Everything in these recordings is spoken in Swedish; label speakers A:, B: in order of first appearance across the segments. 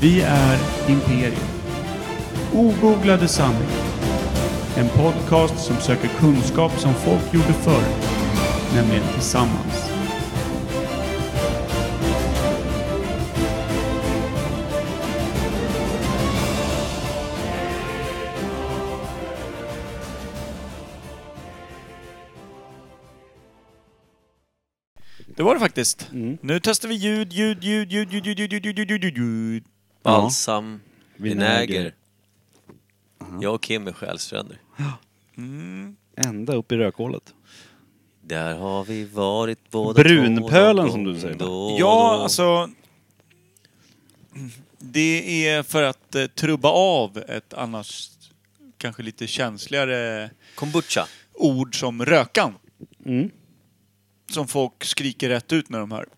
A: Vi är Imperium. Ogooglade sanningar. En podcast som söker kunskap som folk gjorde förr, nämligen tillsammans.
B: Det var det faktiskt. Nu testar vi ljud, ljud, ljud, ljud, ljud, ljud, ljud, ljud, ljud, ljud, ljud, ljud.
C: Balsam,
D: Vinäger.
C: vinäger.
B: Mm-hmm.
C: Jag och Kim är själsfränder.
D: Ända upp i rökhålet.
C: Där har vi varit båda
D: Brunpölen,
C: två
D: som du
C: någon
D: säger.
C: Då, och
B: Ja,
C: då.
B: alltså... Det är för att eh, trubba av ett annars kanske lite känsligare
C: Kombucha.
B: ord som rökan.
D: Mm.
B: Som folk skriker rätt ut när de hör.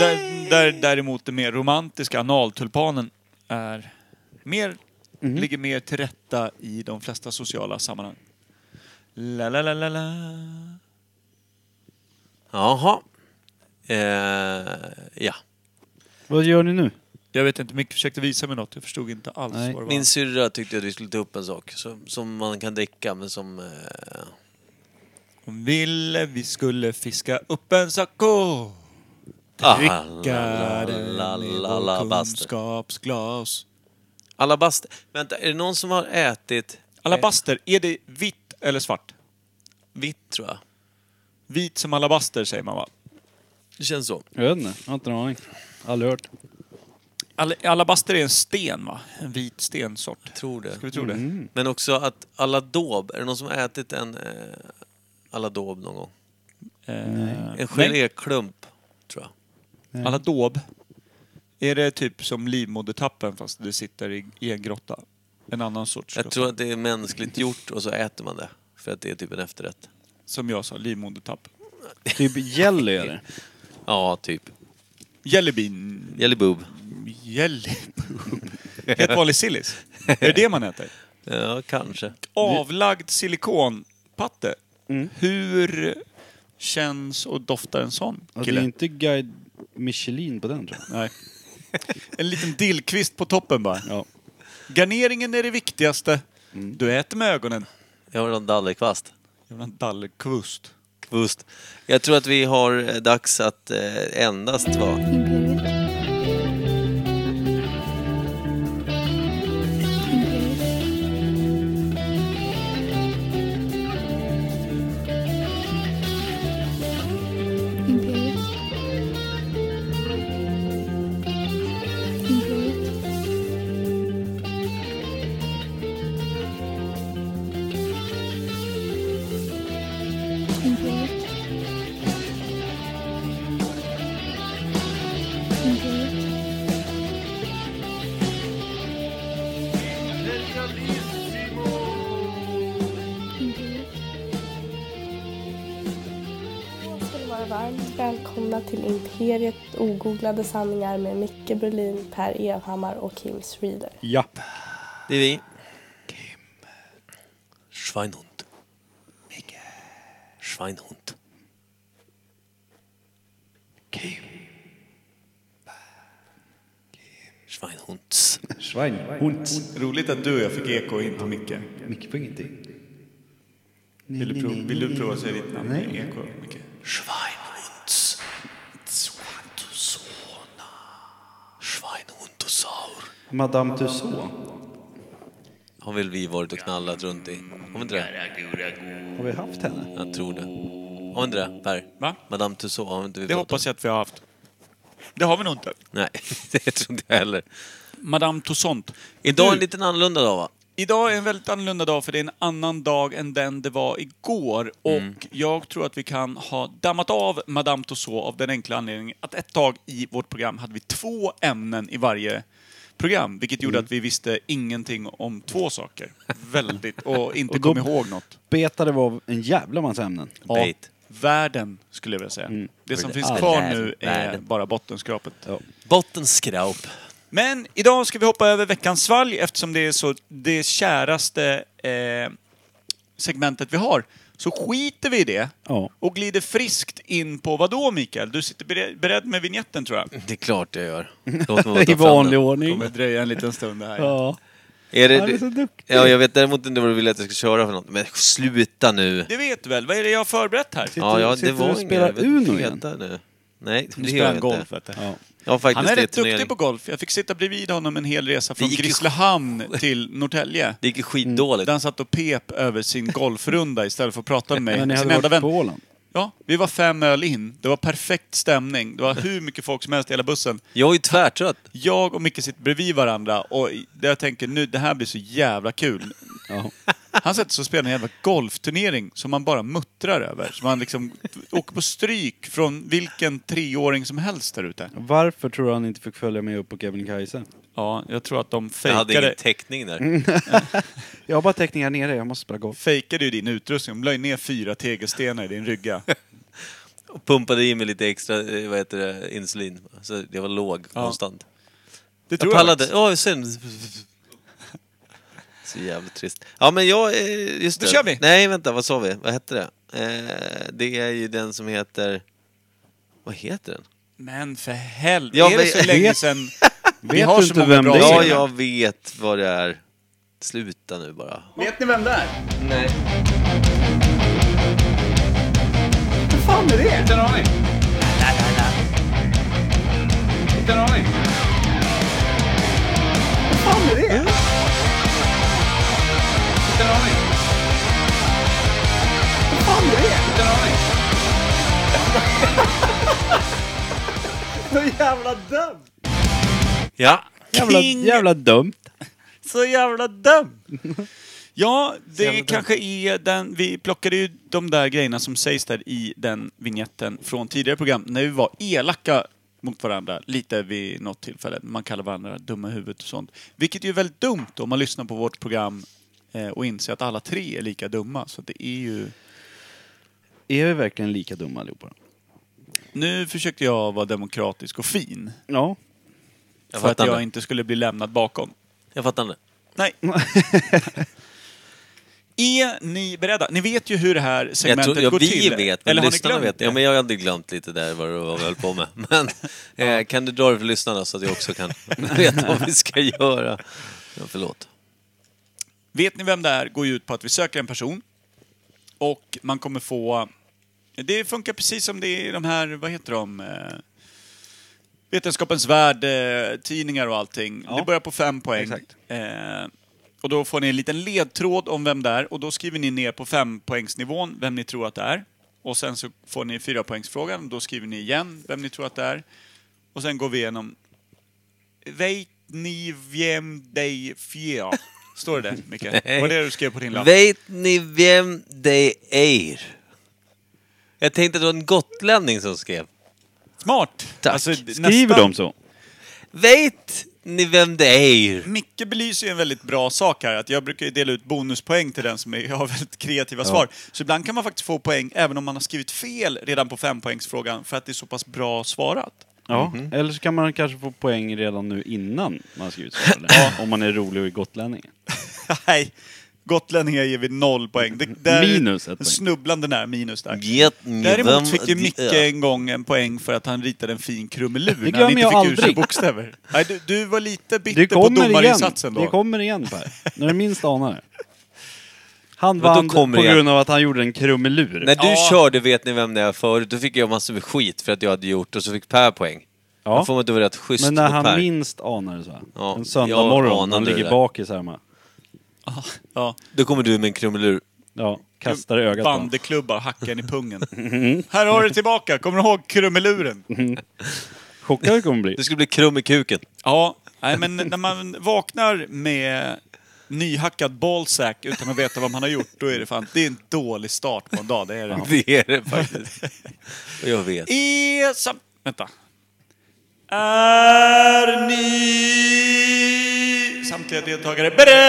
B: Där, där, däremot det mer romantiska, analtulpanen, är mer,
C: Mm.
B: ligger mer till rätta i de flesta sociala sammanhang. La, la, la, la, la.
C: Jaha. Eh, ja.
D: Vad gör ni nu?
B: Jag vet inte, Micke försökte visa mig något. Jag förstod inte alls
D: Nej,
B: vad det var.
C: Min syrra tyckte att vi skulle ta upp en sak som, som man kan dricka men som... Eh,
B: Hon ville vi skulle fiska upp en sak och
C: ah,
B: dricka
C: la,
B: den
C: la,
B: i
C: la, la,
B: vår
C: baster.
B: kunskapsglas.
C: Alabaster. Vänta, är det någon som har ätit...
B: Alabaster, är det vitt eller svart?
C: Vitt tror jag.
B: Vit som alabaster säger man va?
C: Eh, Det känns så.
D: Jag vet inte. Jag har inte en aning. Aldrig hört.
B: Al alabaster är en sten va? En vit stensort.
C: Tror det.
B: Ska vi tro det?
C: Men också att aladob, är det någon som har ätit en eh, aladob någon gång?
B: Eh,
C: En
B: nej,
C: geléklump, tror jag.
B: aladob. Är det typ som livmodertappen fast det sitter i, i en grotta? En annan sorts grotta.
C: Jag tror att det är mänskligt gjort och så äter man det. För att det är typ en efterrätt.
B: Som jag sa, livmodertapp.
D: Typ jelly är det.
C: Ja, typ.
B: Jellybean.
C: Jellyboob.
B: Jellypub. Helt vanlig sillis. Är det det man äter?
C: Ja, kanske.
B: Avlagd silikonpatte.
D: Mm.
B: Hur känns och doftar en sån
D: Ja, det är
B: kille?
D: Alltså, inte Guide Michelin på den tror jag.
B: Nej. En liten dillkvist på toppen bara.
D: Ja.
B: Garneringen är det viktigaste.
D: Mm.
B: Du äter med ögonen.
C: Jag har en dallerkvast.
B: Jävla dallkvust.
C: Kvust. Jag tror att vi har eh, dags att eh, endast vara...
E: Imperial. Imperial. Imperial. Imperial. Imperial. Imperial. Imperial.
F: ska ni vara varmt välkomna till Imperiet ogooglade sanningar med Micke Berlin, Per Evhammar och Kim Schreeder.
D: Japp.
C: Det är vi. Kim. Schweinhund. Micke. Schweinhund. Kim. Schweinhunds.
D: Schwein. Hund.
B: Roligt att du och jag fick eko och inte Micke.
D: Mycket på ingenting.
B: Vill du, prov- vill du prova att säga ditt namn i eko, Micke?
C: Schweinhunds. Schweinhundsona. Schweinhundosaur.
D: Madame Tussauds.
C: Har väl vi varit och knallat runt i? Har vi inte det?
D: Har vi haft henne?
C: Jag tror det. Har vi inte det, Per?
B: Va?
C: Madame Tussauds, har vi inte vi
B: Det
C: pratat
B: hoppas jag att vi har haft. Det har vi nog inte.
C: om? Nej, det tror inte jag heller.
B: Madame Toussaint.
C: Idag är
B: Du-
C: en liten annorlunda dag, va?
B: Idag är en väldigt annorlunda dag för det är en annan dag än den det var igår. Och jag tror att vi kan ha dammat av Madame Tussauds av den enkla anledningen att ett tag i vårt program hade vi två ämnen i varje program. Vilket gjorde att vi visste ingenting om två saker. Väldigt. Och inte
D: Och då-
B: kom ihåg något.
D: Betade var en jävla massa ämnen.
B: Ja,
C: Bait.
B: världen skulle jag vilja säga. Det som
C: det-
B: finns
C: all
B: kvar
C: världen.
B: nu är
C: Världen.
B: bara bottenskrapet.
C: Bottenskraup.
B: Men idag ska vi hoppa över veckans svalg eftersom det är så det käraste eh, segmentet vi har. Så skiter vi i det
D: Ja.
B: och glider friskt in på vad då Mikael? Du sitter bere- beredd med vignetten tror jag.
C: Det är klart jag gör. Låt mig bara ta fram
D: I
C: den.
D: vanlig ordning.
B: kommer dröja en liten stund det här.
D: Ja.
C: Är det,
D: Han är så duktig.
C: Ja, jag vet däremot inte vad du vill att jag ska köra för något. Men sluta nu!
B: Det vet du väl? Vad är det jag har förberett här?
C: ja, ja, det
D: sitter du
C: var
D: och spelar
C: inget. Jag
D: Uno
C: vet
D: igen?
C: inte nu. Nej,
B: Nu spelar
C: det gör
B: han
C: jag
B: golf.
C: inte.
B: vet du.
D: Ja.
C: Jag har faktiskt
B: Han är
C: det i
B: rätt duktig
C: turnering.
B: på golf. Jag fick sitta bredvid honom en hel resa från
C: gick ju-
B: Grisslehamn till Norrtälje.
C: Det gick ju skitdåligt.
D: Mm.
B: Där han satt och pep över sin golfrunda istället för att prata med mig.
D: Men ni
B: sin
D: hade
B: enda
D: varit
B: vän.
D: på Åland?
B: Ja, vi var fem öl in. Det var perfekt stämning. Det var hur mycket folk som helst i hela bussen.
C: Jag är ju tvärtrött.
B: Jag och Micke sitter bredvid varandra och i- där jag tänker nu, det här blir så jävla kul.
D: Ja.
B: Han sätter sig och spelar en jävla golfturnering som man bara muttrar över. Som man liksom åker på stryk från vilken treåring som helst där ute.
D: Varför tror du han inte fick följa med upp på Kebnekaise?
B: Ja, jag tror att de
C: Jag hade ingen
B: fejkade,
C: täckning
D: Mm.
C: där.
D: Jag har bara täckning här nere, jag måste spela golf.
B: fejkade ju din utrustning. De la ju ner fyra tegelstenar i din rygga.
C: Och pumpade i mig lite extra, eh, vad heter det, insulin. Så jag var låg
B: Ja.
C: konstant.
B: Det tror
C: Jag
B: jag.
C: pallade.
B: faktiskt.
C: Ja, sen... Så jävligt trist. Ja, men jag... eh, Just
B: Då
C: det.
B: kör vi.
C: Nej, vänta. Vad sa vi? Vad hette det? Eh, det är ju den som heter... Vad heter den?
B: Men för helvete,
C: Ja,
B: är det
C: men-
B: så länge sedan...
D: Vet
B: har
D: du
B: så
D: inte
B: många
D: vem
B: bra
D: det
C: Ja,
D: är?
B: scener.
C: jag vet vad det är. Sluta nu bara.
B: Vet ni vem det är?
C: Nej.
B: Vad fan är det? Inte en aning. Inte en aning. Vad fan är det? Inte en aning. Vad fan är det? Inte en aning. Så jävla dum!
C: Ja.
D: Jävla,
B: King.
D: jävla dumt.
B: Så jävla dum! Ja,
C: jävla
B: det
C: dum.
B: kanske är den... Vi plockade ju de där grejerna som sägs där i den vignetten från tidigare program när vi var elaka mot varandra lite vid något tillfälle. Man kallar varandra dumma i huvudet och sånt. Vilket ju är väldigt dumt om man lyssnar på vårt program eh, och inser att alla tre är lika dumma. Så det är ju...
D: Är vi verkligen lika dumma allihopa?
B: Nu försökte jag vara demokratisk och fin.
D: Ja.
C: Jag
B: för att
C: fattar
B: jag
C: det.
B: inte skulle bli lämnad bakom.
C: Jag fattar inte.
B: Nej. Är ni beredda? Ni vet ju hur det här
C: Jag
B: segmentet
C: tror, ja,
B: går
C: vi
B: till.
C: vet, men
B: Eller har ni
C: lyssnarna
B: glömt
C: vet.
B: det?
C: Ja, men jag hade glömt lite där vad det var vi höll på med. Men eh, kan du dra det för lyssnarna så att jag också kan veta vad vi ska göra? Ja, förlåt.
B: Vet ni vem det är går ju ut på att vi söker en person och man kommer få... Det funkar precis som det är i de här, vad heter de? eh, Vetenskapens värld-tidningar och allting.
D: Ja.
B: Det börjar på fem poäng.
D: Exakt.
B: Eh, och då får ni en liten ledtråd om vem det är och då skriver ni ner på fempoängsnivån vem ni tror att det är. Och sen så får ni fyrapoängsfrågan och då skriver ni igen vem ni tror att det är. Och sen går vi igenom... Vet ni vem det är? Står det där, Micke?
C: Nej.
B: Var det du skrev på din lapp?
C: Vet ni vem det är? Jag tänkte att det var en gotlänning som skrev.
B: Smart! Alltså,
C: Tack.
B: d-
D: Skriver
B: nästan-
D: de så?
C: Vet ni vem det är?
B: Micke belyser ju en väldigt bra sak här, att jag brukar ju dela ut bonuspoäng till den som är, har väldigt kreativa svar. Så ibland kan man faktiskt få poäng även om man har skrivit fel redan på fempoängsfrågan för att det är så pass bra svarat.
D: Ja. Eller så kan man kanske få poäng redan nu innan man har skrivit så. eller? Om man är rolig och är gotlänning.
B: Nej, gotlänningar ger vi noll poäng. Det, där,
D: Minus ett poäng.
B: Snubblande nära minus där.
C: Vet ni vem
B: Däremot fick ju
C: det
B: Micke
C: är?
B: en gång en poäng för att han ritade en fin krumelur när
D: glömmer
B: han inte
D: jag
B: fick ur sig
D: aldrig.
B: bokstäver. Nej, du, du var lite bitter
D: Det
B: på
D: kommer igen.
B: domarinsatsen då.
D: Det kommer igen Per. När du minst anar det. Han
C: Vadå
D: vann på
C: kommer igen?
D: grund av att han gjorde en krumelur.
C: När du
B: Ja.
C: körde Vet ni vem det är förut, då fick jag massor med skit för att jag hade gjort och så fick Per poäng.
D: Ja.
C: Då får man inte vara rätt schysst
D: Men när
C: mot Per.
D: han minst anar det så här.
C: Ja,
D: En
C: jag
D: söndag morgon,
C: anade
D: han
C: det
D: ligger
C: där.
D: bakis hemma.
B: Ja,
C: Då kommer du med en krumelur.
D: Ja, kastar i ögat på honom.
B: Bandeklubba, hacken i pungen. Här har du tillbaka, kommer du ihåg krumeluren?
D: Chockad det kommer bli.
C: Du skulle bli krum i kuken.
B: Ja, nej men när man vaknar med nyhackad ballsack utan att veta vad man har gjort, då är det fan, det är en dålig start på en dag, det är det.
C: Det är det faktiskt. Och jag vet.
B: Är sam... Vänta. Är ni samtliga deltagare beredda?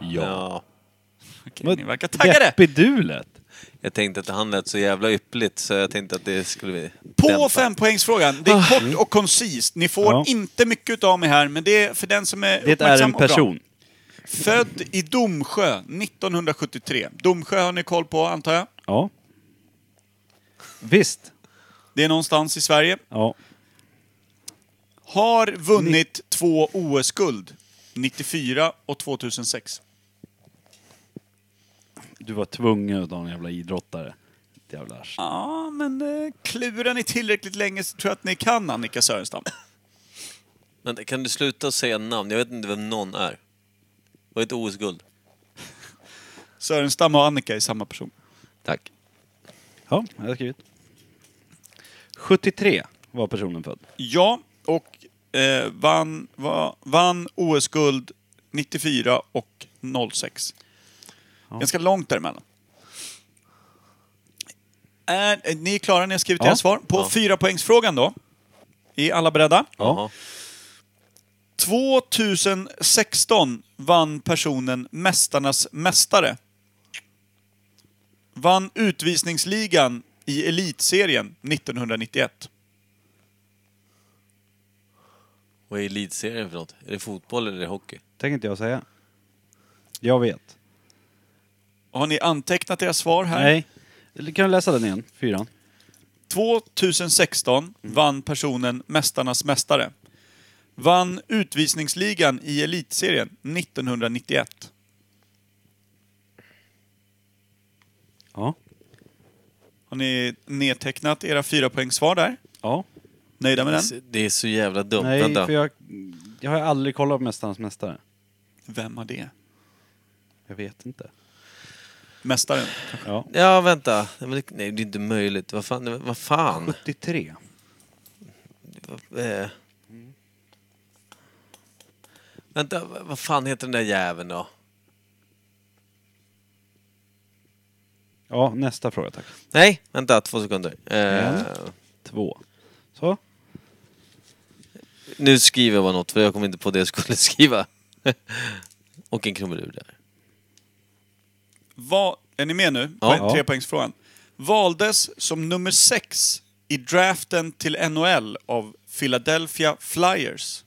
D: Ja.
C: Ja.
B: Okej, ni verkar taggade.
D: Deppig du lät.
C: Jag tänkte att han lät så jävla yppligt så jag tänkte att det skulle vi
B: På
C: dämpa.
B: fempoängsfrågan. Det är
D: Ah.
B: kort och koncist. Ni får
D: Ja.
B: inte mycket av mig här, men det är för den som är
D: Det är
B: uppmärksam
D: en
B: och bra.
D: person.
B: Född i Domsjö 1973. Domsjö har ni koll på, antar jag?
D: Ja. Visst.
B: Det är någonstans i Sverige.
D: Ja.
B: Har vunnit två OS-guld. 94 och 2006.
D: Du var tvungen att vara en jävla idrottare. Ditt Jävla arsle.
B: Ja, men eh, klurar ni tillräckligt länge så tror jag att ni kan Annika Sörenstam.
C: Men kan du sluta säga namn? Jag vet inte vem någon är. Var ett OS-guld?
B: Sörenstam och Annika är samma person.
C: Tack.
D: Ja, jag har skrivit. 73 var personen född.
B: Ja, och eh, vann, va, vann OS-guld 94 och 06. Ganska långt däremellan. Är, eh, ni är klara, ni har skrivit
D: Ja.
B: era svar. På
C: Ja.
B: fyra poängsfrågan då. Är alla beredda?
C: Ja.
B: 2016 vann personen Mästarnas Mästare. Vann utvisningsligan i Elitserien 1991.
C: Vad är elitserien för något? Är det fotboll eller är det hockey?
D: Tänker inte jag säga. Jag vet.
B: Har ni antecknat era svar här?
D: Nej. Eller Kan du läsa den igen? Fyran.
B: 2016 vann personen Mästarnas Mästare. Vann utvisningsligan i Elitserien 1991.
D: Ja.
B: Har ni nedtecknat era fyra poäng svar där?
D: Ja.
B: Nöjda med den?
C: Det är så jävla dumt.
D: Nej,
C: Vänta.
D: för jag, jag har aldrig kollat på Mästarnas Mästare.
B: Vem har det?
D: Jag vet inte.
B: Mästaren?
D: Ja.
C: Ja, vänta. Nej, men det, nej, det är inte möjligt. Vad fan? nej, Vad fan?
D: 73.
C: Eh. Vänta, vad vad fan heter den där jäveln då?
D: Ja, nästa fråga tack.
C: Nej, vänta två sekunder. Eh,
D: Två. Så.
C: Nu skriver jag bara något, för jag kom inte på det jag skulle skriva. Och en krumelur där.
B: Vad, är ni med nu?
C: Ja.
B: På en, trepoängsfrågan. Valdes som nummer sex i draften till NHL av Philadelphia Flyers.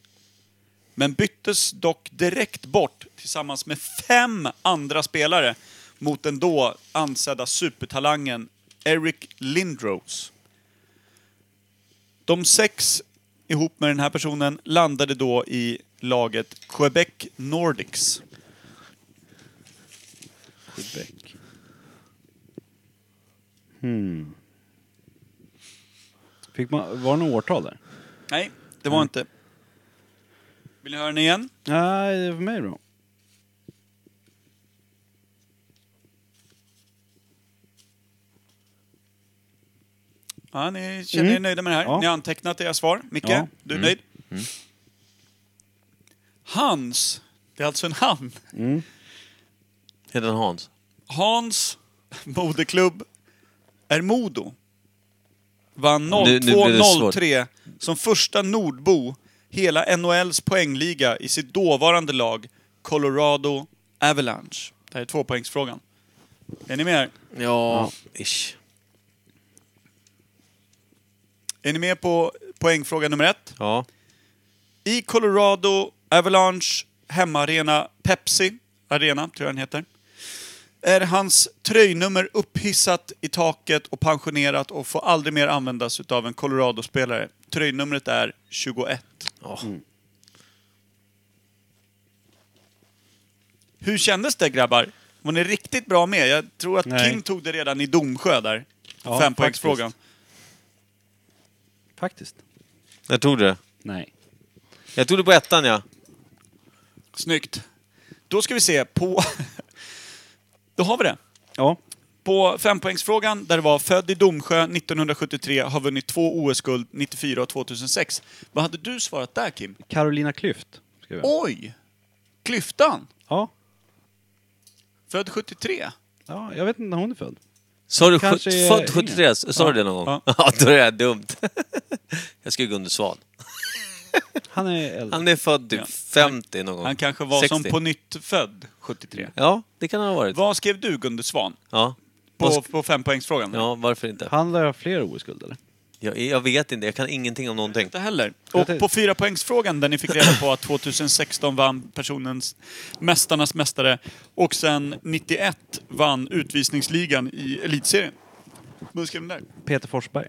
B: Men byttes dock direkt bort tillsammans med fem andra spelare mot den då ansedda supertalangen Eric Lindros. De sex ihop med den här personen landade då i laget Quebec Nordics.
D: Quebec. Hmm. Fick man, var det något årtal där?
B: Nej, det
C: Mm.
B: var inte. Vill ni höra den igen?
D: Nej, det är för mig då.
B: Ja, ni känner
C: Mm.
B: er nöjda med det här.
D: Ja.
B: Ni har antecknat era svar. Micke,
D: Ja.
B: du är nöjd?
C: Mm.
B: Hans, det är alltså en han.
C: Heter den Hans?
B: Hans moderklubb är Modo. Vann
C: Nu- nu blir det svårt.
B: 02-03 som första nordbo hela NHLs poängliga i sitt dåvarande lag Colorado Avalanche. Det här är tvåpoängsfrågan. Är ni med här?
C: Ja, ish.
B: Är ni med på poängfråga nummer ett?
C: Ja.
B: I Colorado Avalanche hemmaarena Pepsi Arena, tror jag den heter. Är hans tröjnummer upphissat i taket och pensionerat och får aldrig mer användas utav en Colorado-spelare. Tröjnumret är 21.
C: ja.
B: Hur kändes det grabbar? Var ni riktigt bra med? Jag tror att
D: Nej.
B: Kim tog det redan i Domsjö där.
D: Ja,
B: Fempoängsfrågan.
D: Faktiskt.
C: Jag tog det.
D: Nej.
C: Jag tog det på ettan, ja.
B: Snyggt. Då ska vi se på... Då har vi det.
D: Ja.
B: På fempoängsfrågan, där det var född i Domsjö 1973, har vunnit två OS-guld 94 och 2006. Vad hade du svarat där, Kim?
D: Carolina Klüft. skrev jag.
B: Oj! Klyftan!
D: Ja.
B: Född 73.
D: ja, jag vet inte när hon är född.
C: Sa du
D: Kanske
C: sjut-
D: är
C: född 73? Sa du det någon gång? Ja, då är det dumt. Jag skulle gå under svan.
D: Han är äldre.
C: Han är född
B: Ja.
C: typ 50 någon gång.
B: Han kanske var
C: 60.
B: som på nytt född 73.
C: Ja, det kan han ha varit.
B: Vad skrev du, Gunde Svan?
C: Ja.
B: På,
C: Vad-
B: på fempoängsfrågan?
C: ja, varför inte?
D: Han lär ha fler OS-guld eller?
C: Jag, jag vet inte, jag kan ingenting om någonting.
B: inte heller. Och på fyra poängsfrågan där ni fick reda på att 2016 vann personens Mästarnas Mästare och sen 91 vann Utvisningsligan i Elitserien. Vad skrev ni där?
D: Peter Forsberg.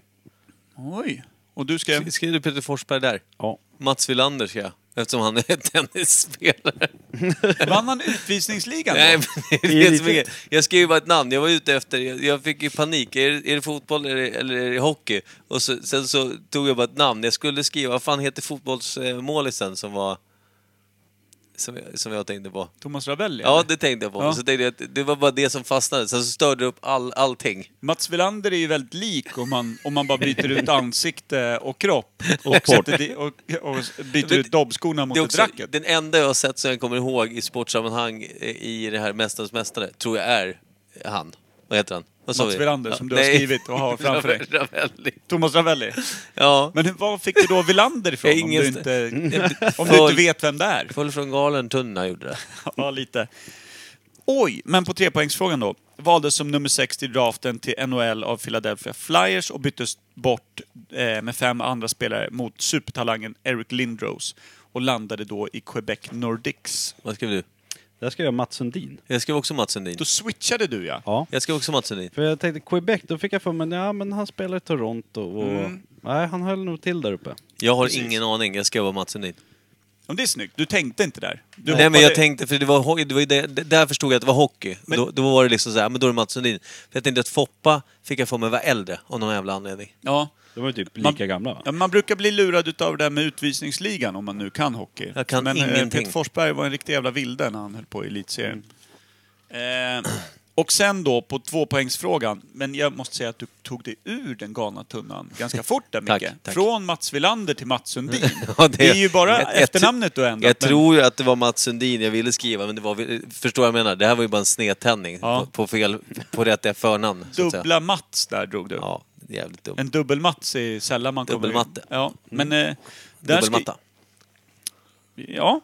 B: Oj. Och du skrev?
C: Sk- Skriver du Peter Forsberg där?
D: Ja.
C: Mats Wilander ska jag. Eftersom han är tennisspelare.
B: Vann han Utvisningsligan
C: Nej,
B: då?
C: men det är det som
D: lite-
C: är- jag skrev ju bara ett namn. Jag var ute efter, jag, jag fick ju panik. Är, det- är det fotboll eller, eller är det hockey? Och så, sen så tog jag bara ett namn. Jag skulle skriva, vad fan heter fotbollsmålisen som var... Som jag, som jag tänkte på.
B: Thomas Ravelli?
C: Ja,
B: eller?
C: det tänkte jag på.
B: Ja.
C: Så tänkte jag att det var bara det som fastnade. Sen så störde det upp all, allting.
B: Mats Wilander är ju väldigt lik om man, om man bara byter ut ansikte och kropp. Och,
D: port.
B: sätter di- och, och byter ut dobbskorna mot
C: Det är
B: ett
C: också,
B: racket.
C: den enda jag har sett som jag kommer ihåg i sportsammanhang eh, i det här Mästarnas Mästare, tror jag är han. Vad heter han? Vad sa
B: Mats
C: vi?
B: Wilander, som du har skrivit och har framför dig.
C: Ravelli.
B: Thomas Ravelli.
C: Ja.
B: Men hur- var fick du då Wilander ifrån?
C: Jag är
B: Om
C: ingen Mm.
B: du
C: st-
B: inte, om du
C: Full-
B: inte vet vem det är?
C: Full från galen tunna gjorde det.
B: Ja, lite. Oj, men på trepoängsfrågan då. Valdes som nummer 6 i draften till NHL av Philadelphia Flyers och byttes bort eh, med fem andra spelare mot supertalangen Eric Lindros och landade då i Quebec Nordics.
C: Vad skrev du?
D: Där ska jag göra Mats Sundin.
C: Jag skrev också Mats Sundin.
B: Då switchade du ja.
D: Ja.
C: Jag skrev också Mats Sundin.
D: För jag tänkte Quebec, då fick jag för mig ja, men han spelar i Toronto och...
B: Mm.
D: Nej, han höll nog till där uppe.
C: Jag har
B: Precis.
C: ingen aning. Jag skrev bara Mats Sundin.
B: Om det är snyggt. Du tänkte inte där. Du
C: Nej men
B: hoppade-
C: jag tänkte, för det var, ho- det var ju det, det- där förstod jag att det var hockey.
B: Men-
C: Då, då var det liksom så här, men då är det Mats Sundin. För jag tänkte att Foppa fick jag för mig var äldre av någon jävla anledning.
B: Ja.
D: De var ju typ lika
B: Man-
D: gamla va?
B: Ja, man brukar bli lurad utav det där med utvisningsligan om man nu kan hockey.
C: Jag kan
B: Men eh,
C: ingenting.
B: Peter Forsberg var en riktig jävla vilde när han höll på i elitserien.
C: Mm.
B: Eh, och sen då på tvåpoängsfrågan, men jag måste säga att du tog dig ur den galna tunnan ganska fort där
C: Tack,
B: Micke.
C: tack.
B: Från Mats Wilander till Mats Sundin.
C: Ja,
B: det, är ju bara
C: jag- jag tr-
B: efternamnet du har ändrat.
C: Jag
B: men-
C: tror ju att det var Mats Sundin jag ville skriva, men det var... Förstår vad jag menar? Det här var ju bara en snedtändning
B: Ja.
C: på, på fel... På rätt förnamn, så att säga.
B: Dubbla Mats där drog du.
C: Ja, det är jävligt dumt.
B: En dubbelmats är sällan man kommer...
C: Dubbelmatte. Mm.
B: Ja, men... Eh, där skri-
C: Dubbelmatta.
B: Ja.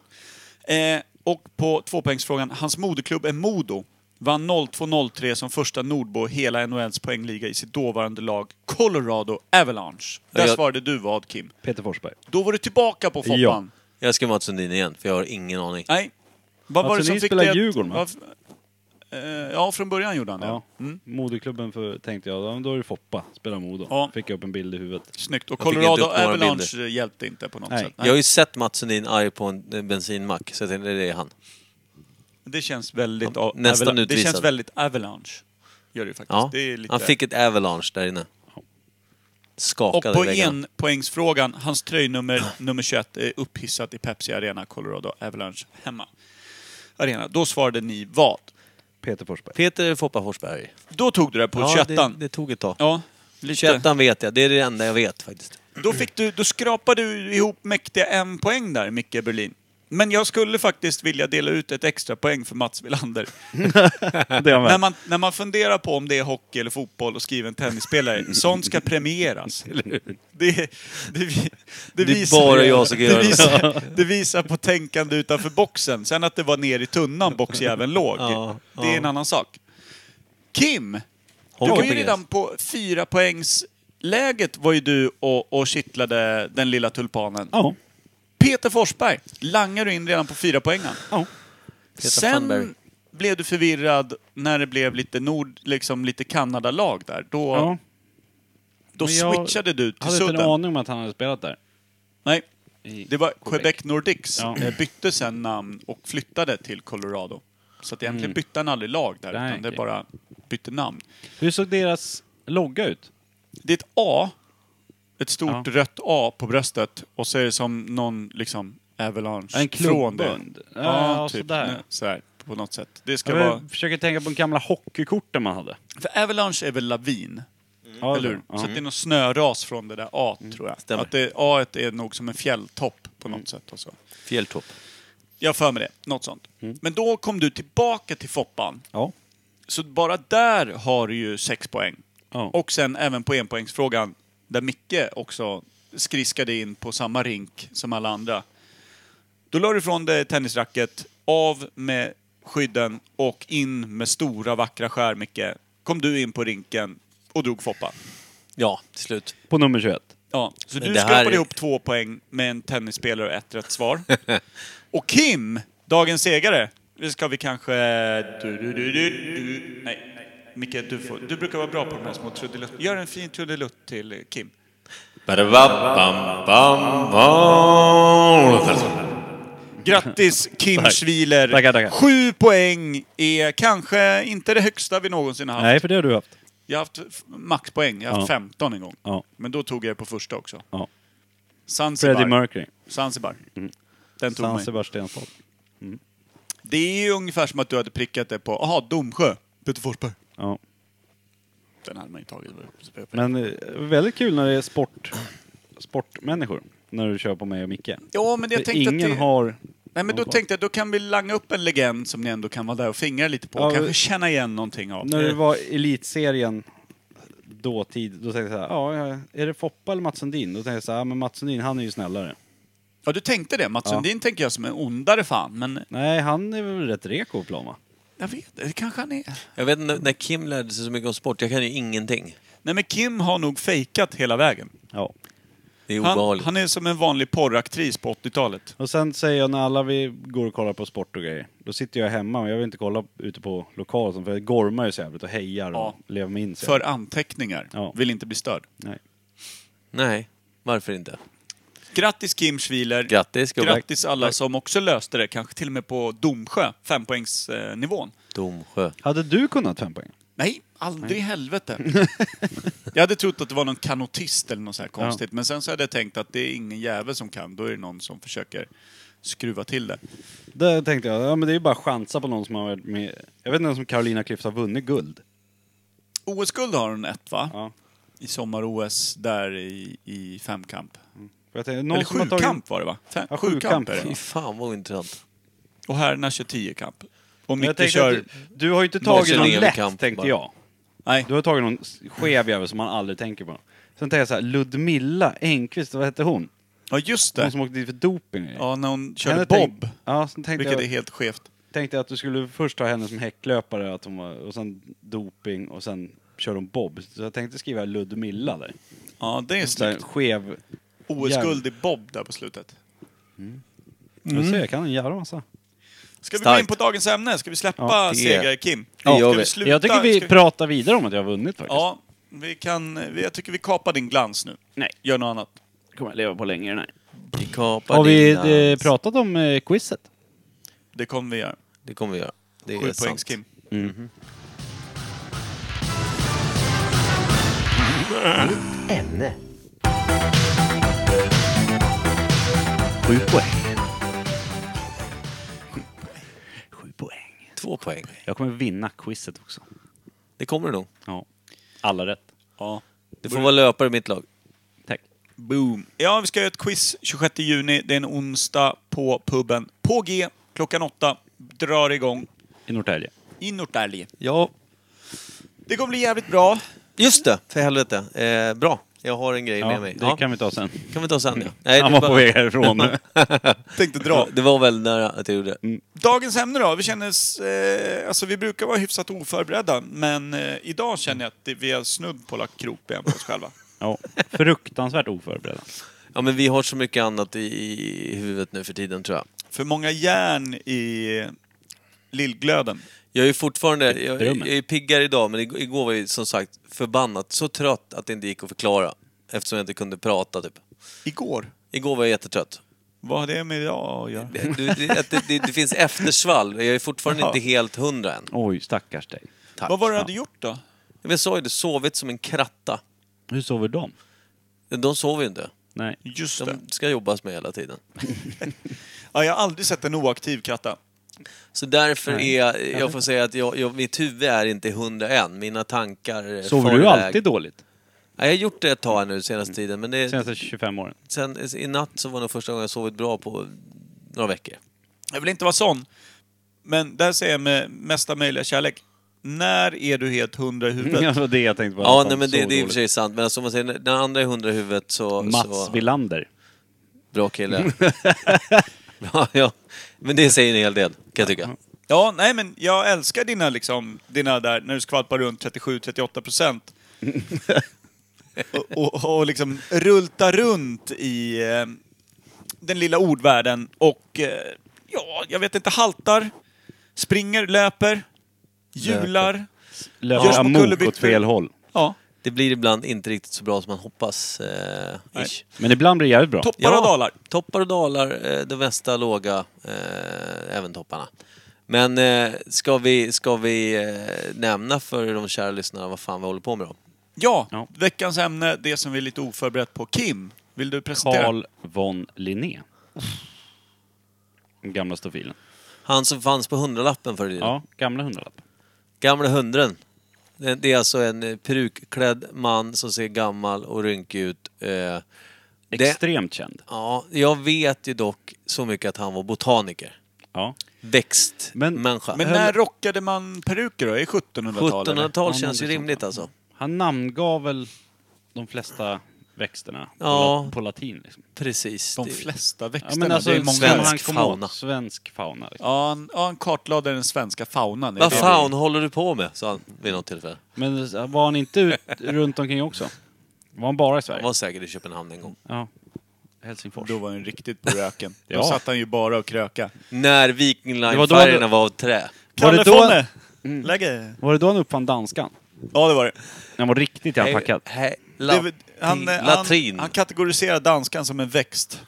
B: Eh, och på tvåpoängsfrågan, hans moderklubb är Modo. Vann 02-03 som första nordbo hela NHLs poängliga i sitt dåvarande lag Colorado Avalanche. Där
C: Jag-
B: svarade du vad Kim?
D: Peter Forsberg.
B: Då var du tillbaka på Foppan.
D: Ja.
C: Jag skrev Mats Sundin igen, för jag har ingen aning.
B: Nej. Vad var
D: Mats
C: Alltså,
B: det som
D: Sundin
B: fick
D: spelar
B: dig att-
D: Djurgården, va?
B: Vad- eh, Ja, från början gjorde han det.
D: Ja.
B: Mm,
D: Moderklubben för, tänkte jag, ja, men då är det Foppa, spelar Modo.
B: Ja.
D: Fick jag upp en bild i huvudet.
B: snyggt. Och
C: Jag fick
B: Colorado
C: inte upp några
B: Avalanche hjälpte inte på något
D: Nej.
B: sätt.
C: Jag har ju sett Mats Sundin arg på en eh, bensinmack, så jag tänkte det är han.
B: Det känns väldigt...
C: Ja,
B: Ja,
C: nästan
B: Det
C: utvisad.
B: känns väldigt Avalanche. Gör det ju faktiskt.
C: Ja.
B: Det är lite...
C: Han fick ett avalanche där inne.
B: Och
C: Skakade
B: på
C: väggarna.
B: enpoängsfrågan, hans tröjnummer nummer 21 är upphissat i Pepsi Arena, Colorado Avalanche hemma. Arena. Då svarade ni vad?
D: Peter Forsberg.
C: Peter Foppa Forsberg.
B: Då tog du det på
C: Ja, det,
B: 21an.
C: det tog ett tag.
B: Ja, lite.
C: 21 vet jag, det är det enda jag vet faktiskt.
B: Då, fick du, då skrapade du ihop mäktiga en poäng där, Micke Berlin. Men jag skulle faktiskt vilja dela ut ett extra poäng för Mats Wilander.
D: Det är han
B: När
D: väl.
B: man, när man funderar på om det är hockey eller fotboll och skriver en tennisspelare, sånt ska premieras. Det, det, vi- det,
C: Det är
B: visar,
C: bara jag som kan göra
B: det,
C: det.
B: visar, det visar på tänkande utanför boxen. Sen att det var ner i tunnan boxjäveln låg,
C: Ja,
B: det är en annan sak. Kim! Du
C: Hockey
B: var
C: på
B: ju
C: gräs.
B: redan på fyra poängs läget var ju du och, och kittlade den lilla tulpanen.
D: Ja.
B: Peter Forsberg langar du in redan på fyra poängen.
D: Ja.
B: Sen
C: Funberg.
B: blev du förvirrad när det blev lite Nord, liksom lite Kanadalag där. Då,
D: ja.
B: då
D: Men jag
B: switchade du till
D: Hade inte en
B: Sudden.
D: aning om att han hade spelat där.
B: Nej,
D: I
B: det var
D: Quebec.
B: Quebec, Nordics.
D: Ja.
B: Eh, Bytte sen namn och flyttade till Colorado. Så att egentligen bytte han aldrig lag där,
D: Mm. Nej,
B: utan det
D: okej.
B: bara bytte namn.
D: Hur såg deras logga ut?
B: Det är ett A, ett stort
D: Ja.
B: rött A på bröstet och så är det som någon liksom avalanche
D: En
B: från det.
D: klubbund?
B: Ja,
D: Ja,
B: typ.
D: sådär.
B: Sådär, på något sätt. Det ska
D: Jag
B: vara...
D: försöker tänka på de gamla hockeykorten man hade.
B: För avalanche är väl lavin?
D: Ja,
B: Eller hur?
D: ja. Mm.
B: Så att det är någon snöras från det där A, tror jag.
C: Stämmer.
B: Att det, A är nog som en fjälltopp på något sätt. Och så.
C: Fjälltopp.
B: Jag har för mig det. Något sånt.
D: Mm.
B: Men då kom du tillbaka till Foppan.
D: Ja.
B: Så bara där har du ju sex poäng.
D: Ja.
B: Och sen även på enpoängsfrågan, där Micke också skriskade in på samma rink som alla andra. Då la du ifrån dig tennisracket, av med skydden och in med stora vackra skär, Micke. Kom du in på rinken och drog Foppa.
C: Ja, till slut.
D: På nummer 21.
B: Ja, så
C: Men
B: du
C: det här
B: skrapade
C: är-
B: ihop två poäng med en tennisspelare och ett rätt svar. och Kim, dagens ägare, nu ska vi kanske... Du, du, du, du, du. Nej, nej. Micke, du, får... du brukar vara bra på de här små trudelutt. Gör en fin trudelutt till eh, Kim. Grattis Kim
D: Tack.
B: Schwiler!
D: Tackar, tackar.
B: Sju poäng är kanske inte det högsta vi någonsin har haft.
D: Nej, för det har du haft.
B: Jag har haft f- maxpoäng, jag har haft
D: Ja.
B: 15 en gång.
D: Ja.
B: Men då tog jag det på första också.
D: Ja. Freddie
B: Zanzibar.
D: Mercury. Mm.
B: Zanzibar. Den tog
D: San
B: mig.
D: Sebastiansson.
B: Det är ju ungefär som att du hade prickat det på, aha, Domsjö, Peter Forsberg.
D: Ja.
B: Den hade man ju tagit.
D: Men eh, väldigt kul när det är sport, sportmänniskor. När du kör på mig och Micke.
B: ja, men jag
D: För
B: tänkte
D: ingen
B: att det...
D: har...
B: Nej, men då
D: någon-
B: tänkte jag, då kan vi langa upp en legend som ni ändå kan vara där och fingra lite på.
D: Ja,
B: och kanske
D: vi-
B: känna igen någonting av.
D: När det var elitserien dåtid, då tänkte jag så här, ja, är det Foppa eller Mats Sundin? Då tänkte jag så här, ja, men Mats Sundin, han är ju snällare.
B: Ja, du tänkte det. Mats
D: Ja.
B: Sundin tänker jag som en ondare fan, men
D: Nej, han är väl rätt reko på plan va?
B: jag vet det kanske han är.
C: Jag vet inte, när Kim lärde sig så mycket om sport, jag kan ju ingenting.
B: Nej, men Kim har nog fejkat hela vägen.
D: Ja.
C: Det är
B: Han,
C: obehagligt.
B: han är som en vanlig porraktris på 80-talet.
D: Och sen säger jag när alla vi går och kollar på sport och grejer, då sitter jag hemma och jag vill inte kolla ute på lokalen för jag gormar ju så jävligt och hejar
B: Ja.
D: och lever mig in så
B: För
D: jävligt.
B: anteckningar.
D: Ja.
B: Vill inte bli störd.
D: Nej.
C: Nej, varför inte?
B: Grattis Kim Schwiler.
C: Grattis gubben.
B: Grattis alla som också löste det, kanske till och med på Domsjö, fempoängsnivån.
C: Domsjö.
D: Hade du kunnat fem poäng?
B: Nej, aldrig i helvete. jag hade trott att det var någon kanotist eller något så här konstigt, men sen så hade jag tänkt att det är ingen jävel som kan, då är det någon som försöker skruva till det.
D: Där tänkte jag, ja men det är ju bara chansa på någon som har varit med. Jag vet inte ens om Carolina Klüft har vunnit guld.
B: OS-guld har hon ett va?
D: Ja.
B: I sommar-OS där i, i femkamp.
D: För jag tänkte, någon
B: eller
D: som har
B: sjukamp
D: tagit-
B: var det va? Fem,
D: Ja,
B: sjukamp
D: sjukamp.
B: är det.
C: Fy
B: va?
C: fan vad intressant.
B: Och herrarna kör tiokamp. Och
D: Men jag
B: Micke
D: tänkte
B: kör...
D: att du, du har ju inte
C: Någon
D: tagit någon
C: slänger
D: lätt,
C: kamp
D: tänkte
C: bara.
D: jag.
B: Nej,
D: Du har tagit någon s- skev jävel som man aldrig tänker på. Sen tänkte jag så här, Ludmilla Engqvist, vad hette hon?
B: ja just
D: Hon
B: det.
D: som åkte dit för doping.
B: Ja, när hon körde
D: Henne
B: bob.
D: tänk- ja, sen tänkte
B: Vilket
D: jag,
B: är helt skevt.
D: tänkte jag att du skulle först ta henne som häcklöpare att hon var, och sen doping och sen kör hon bob. Så jag tänkte skriva Ludmilla där.
B: Ja, det är
D: Så här,
B: snyggt.
D: skev.
B: OS-guld i bob där på slutet.
D: Jag ser, jag kan en jävla massa.
B: Ska vi gå
C: Starkt.
B: in på dagens ämne? Ska vi släppa
D: Ja,
C: det-
B: segare Kim?
C: Ja,
B: ska
C: jag
B: vi
C: vet.
B: sluta?
D: Jag tycker vi
B: Ska
D: pratar vidare om att jag har vunnit faktiskt.
B: Ja, vi kan... vi- Jag tycker vi kapar din glans nu.
D: Nej.
B: Gör något annat.
D: kommer jag leva på längre. Nej.
C: Vi kapar
D: Har vi
C: dina-
D: eh, pratat om eh, quizet?
B: Det kommer vi göra.
C: Det kommer vi göra. Det
B: Sju
C: är
B: poängs
C: sant.
B: Kim.
G: ämne. Sju poäng.
D: Sju poäng.
C: Två poäng.
D: Jag kommer vinna quizet också.
C: Det kommer det nog.
D: Ja. Alla rätt.
B: Ja.
C: Du får vara löpare i mitt lag.
D: Tack.
B: Boom. Ja, vi ska göra ett quiz 26 juni. Det är en onsdag på puben. På G, klockan åtta. Drar igång.
D: I Norrtälje.
B: I Norrtälje.
C: Ja.
B: Det kommer bli jävligt bra.
C: Just det, för helvete. Eh, bra. Jag har en grej
D: Ja,
C: med mig.
D: det
C: ja.
D: kan vi ta sen.
C: kan vi ta sen ja. Nej,
D: Han
C: det
D: var
C: bara-
D: på väg härifrån nu.
B: Tänkte dra.
C: Det var väldigt nära att jag gjorde det.
B: Dagens ämne då? Vi känner... Eh, alltså vi brukar vara hyfsat oförberedda, men eh, idag känner jag att det, vi har snudd på lagt krokben på oss själva.
D: Ja, fruktansvärt oförberedda.
C: Ja, men vi har så mycket annat i, i huvudet nu för tiden tror jag.
B: För många järn i lillglöden.
C: Jag är ju fortfarande... Jag, jag
D: Drömmen.
C: är piggare idag, men ig- igår var jag ju som sagt förbannat så trött att det inte gick att förklara. Eftersom jag inte kunde prata typ.
B: Igår?
C: Igår var jag jättetrött.
B: Vad har det med idag att göra?
C: Det, du- det, att det, det, det finns eftersvall. Jag är fortfarande
B: Ja.
C: inte helt hundra än.
D: Oj, stackars dig.
C: Tack.
B: Vad var det du hade gjort då?
C: Men Jag sa ju det, sovit som en kratta.
D: Hur sover de?
C: De sover ju inte.
D: Nej.
B: Just det.
C: De ska jobbas med hela tiden.
B: Ja, jag har aldrig sett en oaktiv kratta.
C: Så därför
D: Nej,
C: är jag, jag får säga att jag, jag, mitt huvud är inte hundra än. Mina tankar eh,
D: Sover
C: far
D: du
C: iväg.
D: alltid dåligt?
C: Nej, jag har gjort det ett tag nu senaste tiden, men det,
D: Senaste 25 åren?
C: sen, i natt så var det första gången jag sovit bra på några veckor.
B: Jag vill inte vara sån. Men där säger jag med mesta möjliga kärlek. När är du helt hundra i
D: Det
B: huvudet?
D: var det jag tänkte på.
C: Ja,
D: Fan,
C: nej, men det,
D: sover
C: det är i och för
D: dåligt.
C: sig sant. Men som man säger, när- när andra är hundra i huvudet så...
D: Mats
C: så
D: Wilander.
C: bra kille. ja, ja, men det säger en hel del, kan jag tycka.
B: Ja, nej men jag
D: Mm.
B: älskar dina liksom, dina där, när du skvalpar runt 37-38 procent. och, och, och liksom rulta runt i eh, den lilla ordvärlden och, eh, ja, jag vet inte, haltar, springer, löper, hjular. Görs
D: Löper
B: på
D: amok
B: kullerbyttor.
D: åt fel håll.
B: Ja,
C: Det blir ibland inte riktigt så bra som man hoppas. Eh,
B: Nej.
C: ish.
D: Men ibland blir det jävligt bra.
B: toppar och dalar.
C: Toppar och dalar, eh, det mesta låga, eh, även topparna. Men eh, ska vi, ska vi eh, nämna för de kära lyssnarna vad fan vi håller på med då?
B: Ja,
D: Ja.
B: veckans ämne, det som vi är lite oförberett på. Kim, vill du presentera?
D: Carl von Linné. Den gamla stofilen.
C: Han som fanns på hundralappen förr i tiden.
D: Ja, gamla hundralapp.
C: Gamla hundren. Det det är alltså en eh, perukklädd man som ser gammal och rynkig ut. Eh, det,
D: Extremt känd.
C: ja, jag vet ju dock så mycket att han var botaniker.
D: Ja. Men-
C: Växtmänniska.
B: Men när rockade man peruker då? I 1700-talet? eller?
C: 1700-tal
D: Ja,
C: känns ju
D: någonting
C: rimligt
D: sånt.
C: alltså.
D: Han namngav väl de flesta växterna på
C: Ja.
D: la- på latin. Liksom.
C: Precis.
B: De
C: det-
B: flesta
D: Ja,
B: växterna,
D: men alltså,
B: det är många.
D: svensk
C: svensk
D: han kom åt.
C: fauna.
D: Svensk fauna. Liksom.
B: Ja, han, ja, han kartlade den svenska faunan.
C: Vad
B: Det är det.
C: fan håller du på med? sa han vid något tillfälle.
D: Men eh, var han inte ut, runt omkring också? Var han bara i Sverige?
C: Han var säkert i Köpenhamn en gång.
D: Ja. Helsingfors.
B: Då var han riktigt på röken.
D: Ja.
B: Då satt han ju bara och kröka.
C: När Viking Line-färgerna var, av trä.
D: Var
B: Kalle
D: det då- Mm.
B: Fonne! Lägge!
D: Var det då han uppfann danskan?
B: Ja, det var det.
D: Han var riktigt jävla packad.
C: He,
B: det
C: la,
B: var- han, eh,
C: Latrin.
B: Han, han kategoriserar danskan som en växt.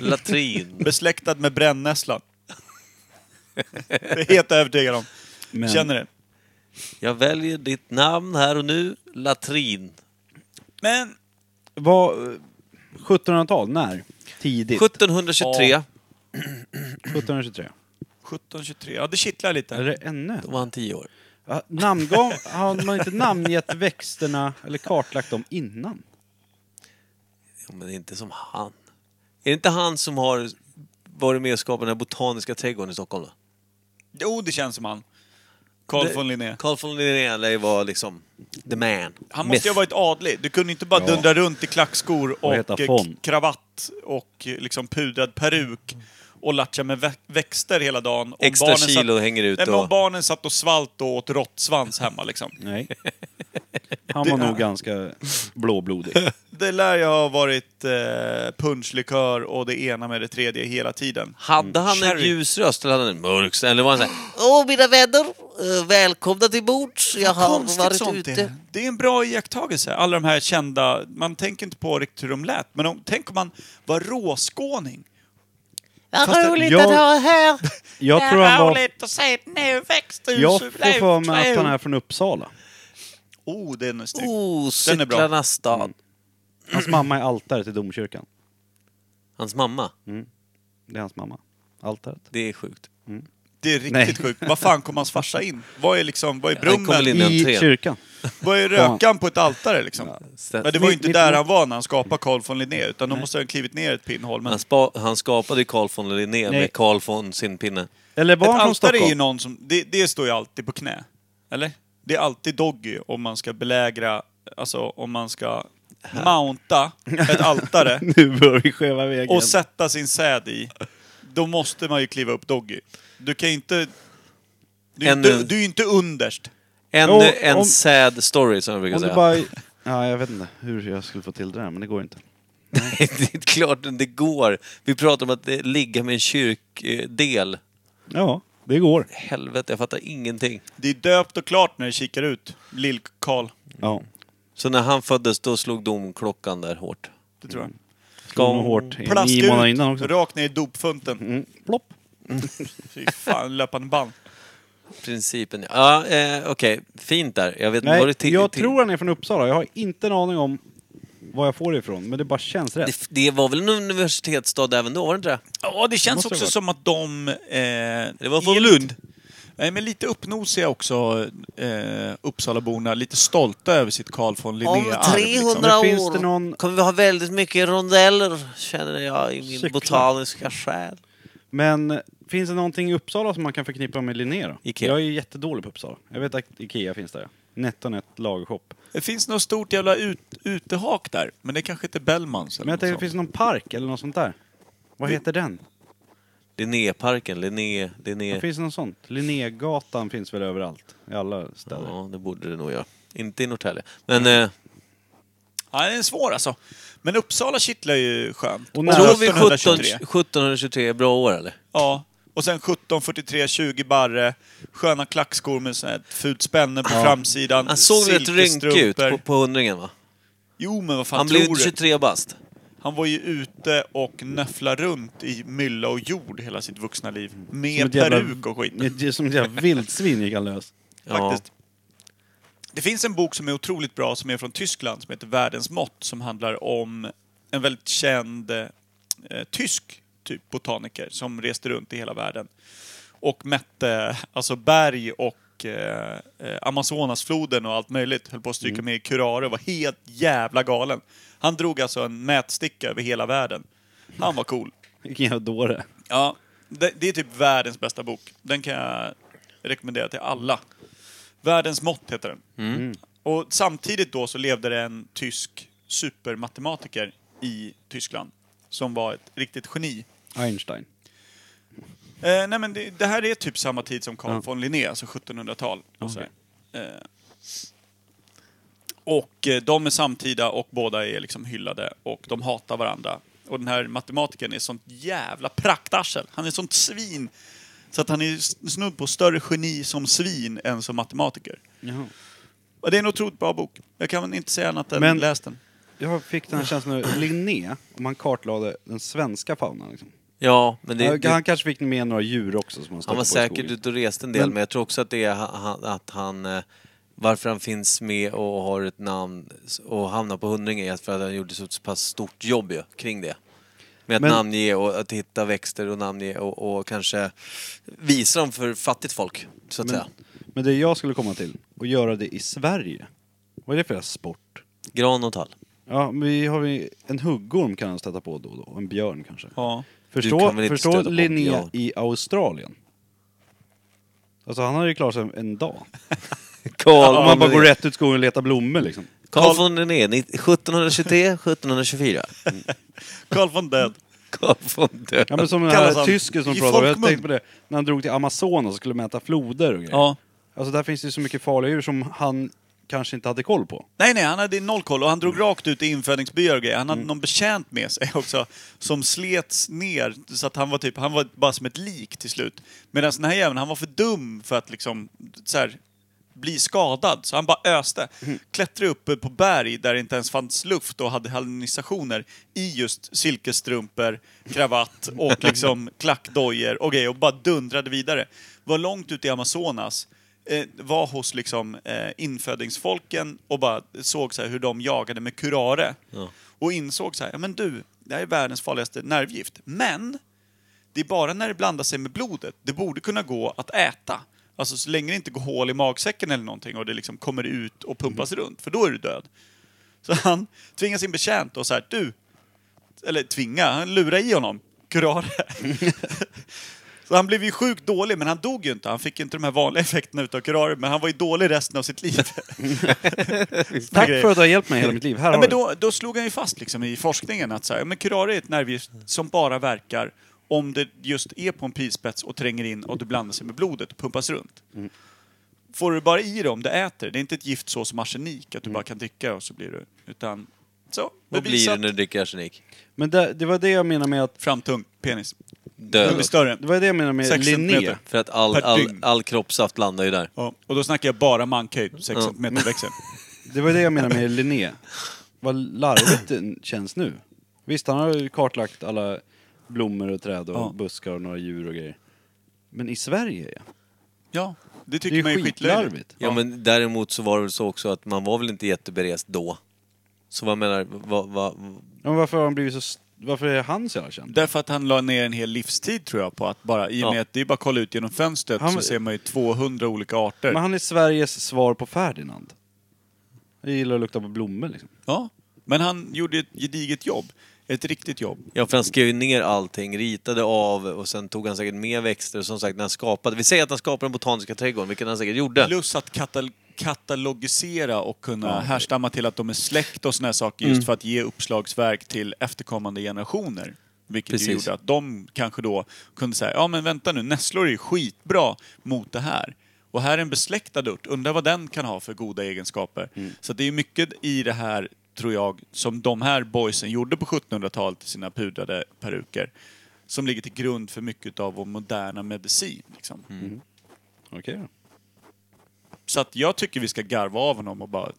C: Latrin.
B: Besläktad med brännässlan. det är jag helt övertygad om.
D: Men
B: Känner det.
C: Jag väljer ditt namn här och nu. Latrin.
B: Men
D: var 1700-tal? När? Tidigt?
C: 1723
D: 1723.
B: 1723, ja det kittlar lite.
D: Eller ännu?
C: då var han 10 år.
D: Ja, Namngav... Har man inte namngett växterna eller kartlagt dem innan?
C: Ja, men det är inte som han. Är det inte han som har varit med och skapat den här botaniska trädgården i Stockholm? Då?
B: Jo, det känns som han. Carl
C: Det-
B: von Linné.
C: Carl von Linné lär ju vara liksom the man.
B: Han måste ju ha varit
C: Myth.
B: adlig. Du kunde inte bara dundra runt i klackskor och,
D: heta
B: eh,
D: Fon.
B: k- kravatt och eh, liksom pudrad peruk och latcha med vä- växter hela dagen. Och
C: Extra kilo hänger ut
B: Nej, men
C: och-
B: om barnen satt och svalt och åt råttsvans hemma liksom.
D: Nej. Han var nog ganska blåblodig.
B: Det lär ju ha varit eh, punschlikör och det ena med det tredje hela tiden.
C: Hade han en
B: Sherry.
C: ljus röst eller hade han en mörk? så- Eller var han såhär... Åh, mina vänner! eh, Välkomna till bords! Jag har
B: Konstigt
C: varit
B: sånt
C: ute...
B: är. Det är en bra iakttagelse, alla de här kända... Man tänker inte på riktigt hur de lät, men om, tänk om man var råskåning.
H: Vad
B: Fast det-
H: roligt
D: jag-
H: att ha er här!
D: Jag tror han
H: Vad
D: var...
H: roligt att se ett nytt växthus!
D: Jag får för mig att han är från Uppsala.
B: Oh, den är snygg.
C: Oh,
B: Den är bra.
C: cyklarnas stad.
D: Mm. Hans mamma är altare till domkyrkan.
C: Hans mamma.
D: Mm. Det är hans mamma. Altaret.
C: Det är sjukt.
B: Det är riktigt
D: Nej.
B: sjukt. Vad fan kom hans farsa in? Vad är liksom, vad är
C: han kom väl
B: brummen?
C: in- Innan tre.
D: I kyrkan.
B: Vad är rökan på ett altare liksom?
C: Sen,
B: Men det var ju
D: Mitt-
B: inte
D: mitt-
B: där han var när han skapade Carl von Linné, utan då måste han ha klivit ner ett pinnhål. Men
C: han,
B: ett
C: spa, han skapade ju Carl von Linné
D: Nej.
C: med Carl von sin pinne.
D: Eller var han från
B: altare är ju
D: Stockholm?
B: någon som, det, det står ju alltid på knä. Eller? Det är alltid doggy om man ska belägra, alltså om man ska mounta ett altare
D: Nu börjar vi skäva vägen.
B: och sätta sin säd i. Då måste man ju kliva upp doggy. Du kan ju inte... Du är,
C: En-
B: inte, du är ju inte underst.
C: En,
D: Jo,
C: en
D: om-
C: sad story som jag brukar
D: Om du
C: säga.
D: bara... Ja, jag vet inte hur jag skulle få till det där, men det går inte.
C: det är klart det går. Vi pratar om att det ligga med en kyrkdel.
D: Ja, det går.
C: Helvete, jag fattar ingenting.
B: Det är döpt och klart när det kikar ut, Lill-Karl.
D: Ja.
C: Så när han föddes, då slog domklockan där hårt.
B: Det tror jag.
D: Slog nog hårt i
B: Plask
D: Mm. nio månader
B: ut,
D: innan också.
B: rakt ner i dopfunten.
D: Mm. Plopp.
B: Fy fan, löpande band.
C: Principen, ja. Eh, Okej, fint där. Jag vet inte vad
D: Nej,
C: det till,
D: jag
C: till,
D: tror han är från Uppsala. Jag har inte en aning om var jag får det ifrån, men det bara känns rätt.
C: det, det var väl en universitetsstad även då, var det inte det?
B: Ja, det känns
D: måste det
B: också
D: ha varit.
B: som att de... Eh, det
C: var från
B: Lund. Nej, men lite uppnosiga också, eh, Uppsalaborna. Lite stolta över sitt Carl von
C: Om
B: Linné-arv.
C: 300
D: liksom. Men finns det
C: år
D: någon-
C: kommer vi ha väldigt mycket rondeller, känner jag i min
D: Cyklar.
C: botaniska själ.
D: Men eh, finns det någonting i Uppsala som man kan förknippa med Linné då?
C: Ikea.
D: Jag är ju jättedålig på Uppsala. Jag vet att Ikea finns där. Nettonet lagershop.
B: Det finns något stort jävla ut, utehak där, men det kanske inte är Bellmans
D: Men
B: eller
D: jag
B: något
D: tänkte,
B: sånt.
D: finns det någon park eller något sånt där? Vad heter den?
C: Linnéparken, Linné... Linné...
D: Finns det något sånt? Linnégatan finns väl överallt? I alla städer? Mm.
C: Ja, det borde det nog göra. Inte i Norrtälje. Men eh,
B: Ja, den är svår alltså. Men Uppsala kittlar ju skönt.
D: Och när-
C: Tror vi 17,
B: 1723.
C: 1723 är bra år eller?
B: Ja. Och sen 1743, 20 barre, sköna klackskor med sån här ett fult spänne på framsidan,
D: Mm.
C: Han såg rätt rynkig ut
B: silkesstrumpor.
C: på, på hundringen va?
B: Jo, men vad fan
C: Han
B: tror
C: blev
B: du?
C: 23 bast.
B: Han var ju ute och nöfflade runt i mylla och jord hela sitt vuxna liv.
D: Som
B: Med
D: ett jävla-
B: peruk och skit.
D: Det är Som ett jävla vildsvin gick han lös.
B: Faktiskt. Det finns en bok som är otroligt bra som är från Tyskland som heter Världens mått som handlar om en väldigt känd eh, tysk typ botaniker som reste runt i hela världen och mätte alltså berg och eh, eh, Amazonasfloden och allt möjligt. Höll på att stryka med i kurare och var helt jävla galen. Han drog alltså en mätsticka över hela världen. Han var cool.
D: Vilken jävla dåre.
B: Ja, det, det är typ världens bästa bok. Den kan jag rekommendera till alla. Världens mått heter den. Och samtidigt då så levde det en tysk supermatematiker i Tyskland som var ett riktigt geni.
D: Einstein.
B: Eh, nej men det, det här är typ samma tid som Carl von Linné, alltså 1700-tal. Och, så här. eh, och eh, de är samtida och båda är liksom hyllade och de hatar varandra. Och den här matematikern är sånt jävla praktarsel. Han är sånt svin. Så att han är s- snudd på större geni som svin än som matematiker.
D: Jaha.
B: Och det är en otroligt bra bok. Jag kan inte säga annat än
D: Men-
B: läs den.
D: Jag fick den här känslan nu, Linné, om han kartlade den svenska faunan liksom.
C: Ja, men det, det,
D: Han kanske fick med några djur också som han
C: han
D: stötte på
C: var
D: i
C: säkert
D: skogen.
C: ute och reste en del,
D: Men-
C: men jag tror också att det är ha- ha- att han... eh, Varför han finns med och har ett namn och hamnar på hundringen är för att han gjorde så pass stort jobb ju, kring det. Med att
D: Men-
C: namnge och att hitta växter och namnge och, och kanske visa dem för fattigt folk, så att säga.
D: Men det jag skulle komma till, och göra det i Sverige. Vad är det för jävla sport?
C: Gran och tall.
D: Ja, men vi har vi en huggorm kan han stöta på då och då, och en björn kanske.
B: Ja.
C: kan väl
D: Förstå,
C: inte stöta
D: förstå
C: på en
D: Linné
C: björn?
D: i Australien. Alltså han hade ju klarat sig en dag.
C: Karl
D: Om man bara går rätt ut i skogen och letar blommor liksom.
C: Carl von Linné, ni- 1723, 1724.
B: Carl von Död.
C: Carl von Dö.
D: Ja men som den
B: Kallas
D: här
B: han
D: tysken som
B: i
D: pratade om, jag
B: folkmun?
D: tänkte på det, när han drog till Amazonas och skulle mäta floder och grejer.
B: Ja.
D: Alltså där finns det ju så mycket farliga djur som han kanske inte hade koll på.
B: Nej, nej, han hade noll koll och han drog rakt ut i infödingsbyar och grejer. Han hade någon betjänt med sig också som slets ner så att han var typ, han var bara som ett lik till slut. Medan den här jäveln, han var för dum för att liksom så här, bli skadad så han bara öste. Klättrade upp på berg där det inte ens fanns luft och hade hallucinationer i just silkesstrumpor, kravatt och liksom klackdojor och grejer och bara dundrade vidare. Var långt ute i Amazonas eh, var hos liksom, eh, infödingsfolken och bara såg så här, hur de jagade med kurare. Och insåg så här, ja men du, det här är världens farligaste nervgift. Men, det är bara när det blandar sig med blodet, det borde kunna gå att äta. Alltså så länge det inte går hål i magsäcken eller någonting och det liksom kommer ut och pumpas runt, för då är du död. Så han tvingar sin betjänt och så här, du, eller tvinga, han lurar i honom. Kurare. Så han blev ju sjukt dålig, men han dog ju inte. Han fick inte de här vanliga effekterna utav kurare, men han var ju dålig resten av sitt liv.
D: Tack
B: grejer.
D: för att du har hjälpt mig hela mitt liv, här
B: Ja,
D: har
B: men
D: du.
B: då, då slog han ju fast liksom i forskningen att så här, ja, men curare är ett nervgift som bara verkar om det just är på en pilspets och tränger in och du blandar sig med blodet och pumpas runt.
C: Mm.
B: Får du bara i det om du äter, det är inte ett gift så som arsenik, att du bara kan dricka och så blir du... Utan så,
C: Mm. Vad blir det
B: bevisat.
C: när du dricker arsenik?
D: Men det, det var det jag menade med att,
B: Framtung, penis. Den blir
C: Död.
B: större.
D: det var det jag menade med
B: Sex
D: Linné.
B: centimeter.
C: För att all,
B: Per
C: all,
B: dygn.
C: all kroppssaft landar ju där.
B: Ja, och då snackar jag bara mankhöjd, 6
C: Ja.
B: cm växel.
D: Det var det jag menade med Linné. Vad larvigt det känns nu. Visst, han har ju kartlagt alla blommor och träd och
B: Ja.
D: buskar och några djur och grejer. Men i Sverige, ja.
B: Ja, det
D: Det
B: tycker
D: är
B: man
D: ju
B: är skitlöjligt.
D: skitlarvigt.
C: Ja, men däremot så var det väl så också att man var väl inte jätteberest då. Så vad menar, vad, vad,
D: Ja, Men varför har han blivit så... st- Varför är han så jävla känd?
B: Därför att han la ner en hel livstid tror jag på att bara, i och med
C: Ja.
B: att det är bara att kolla ut genom fönstret
D: Han-
B: så ser man ju 200 olika arter.
D: Men han är Sveriges svar på Ferdinand. Jag gillar att lukta på blommor liksom.
B: Ja. Men han gjorde ett gediget jobb. Ett riktigt jobb.
C: Ja, för han skrev ju ner allting, ritade av och sen tog han säkert med växter och som sagt när han skapade. Vi säger att han skapade den botaniska trädgården, vilket han säkert gjorde.
B: Plus att katal katalogisera och kunna härstamma till att de är släkt och såna här saker just för att ge uppslagsverk till efterkommande generationer. Vilket ju
C: Precis.
B: gjorde att de kanske då kunde säga, ja men vänta nu, nässlor är ju skitbra mot det här. Och här är en besläktad ört, undrar vad den kan ha för goda egenskaper. Så det är mycket i det här tror jag, som de här boysen gjorde på 1700-talet i sina pudrade peruker. Som ligger till grund för mycket av vår moderna medicin. Liksom.
D: Okej då.
B: Så att jag tycker vi ska garva av honom och bara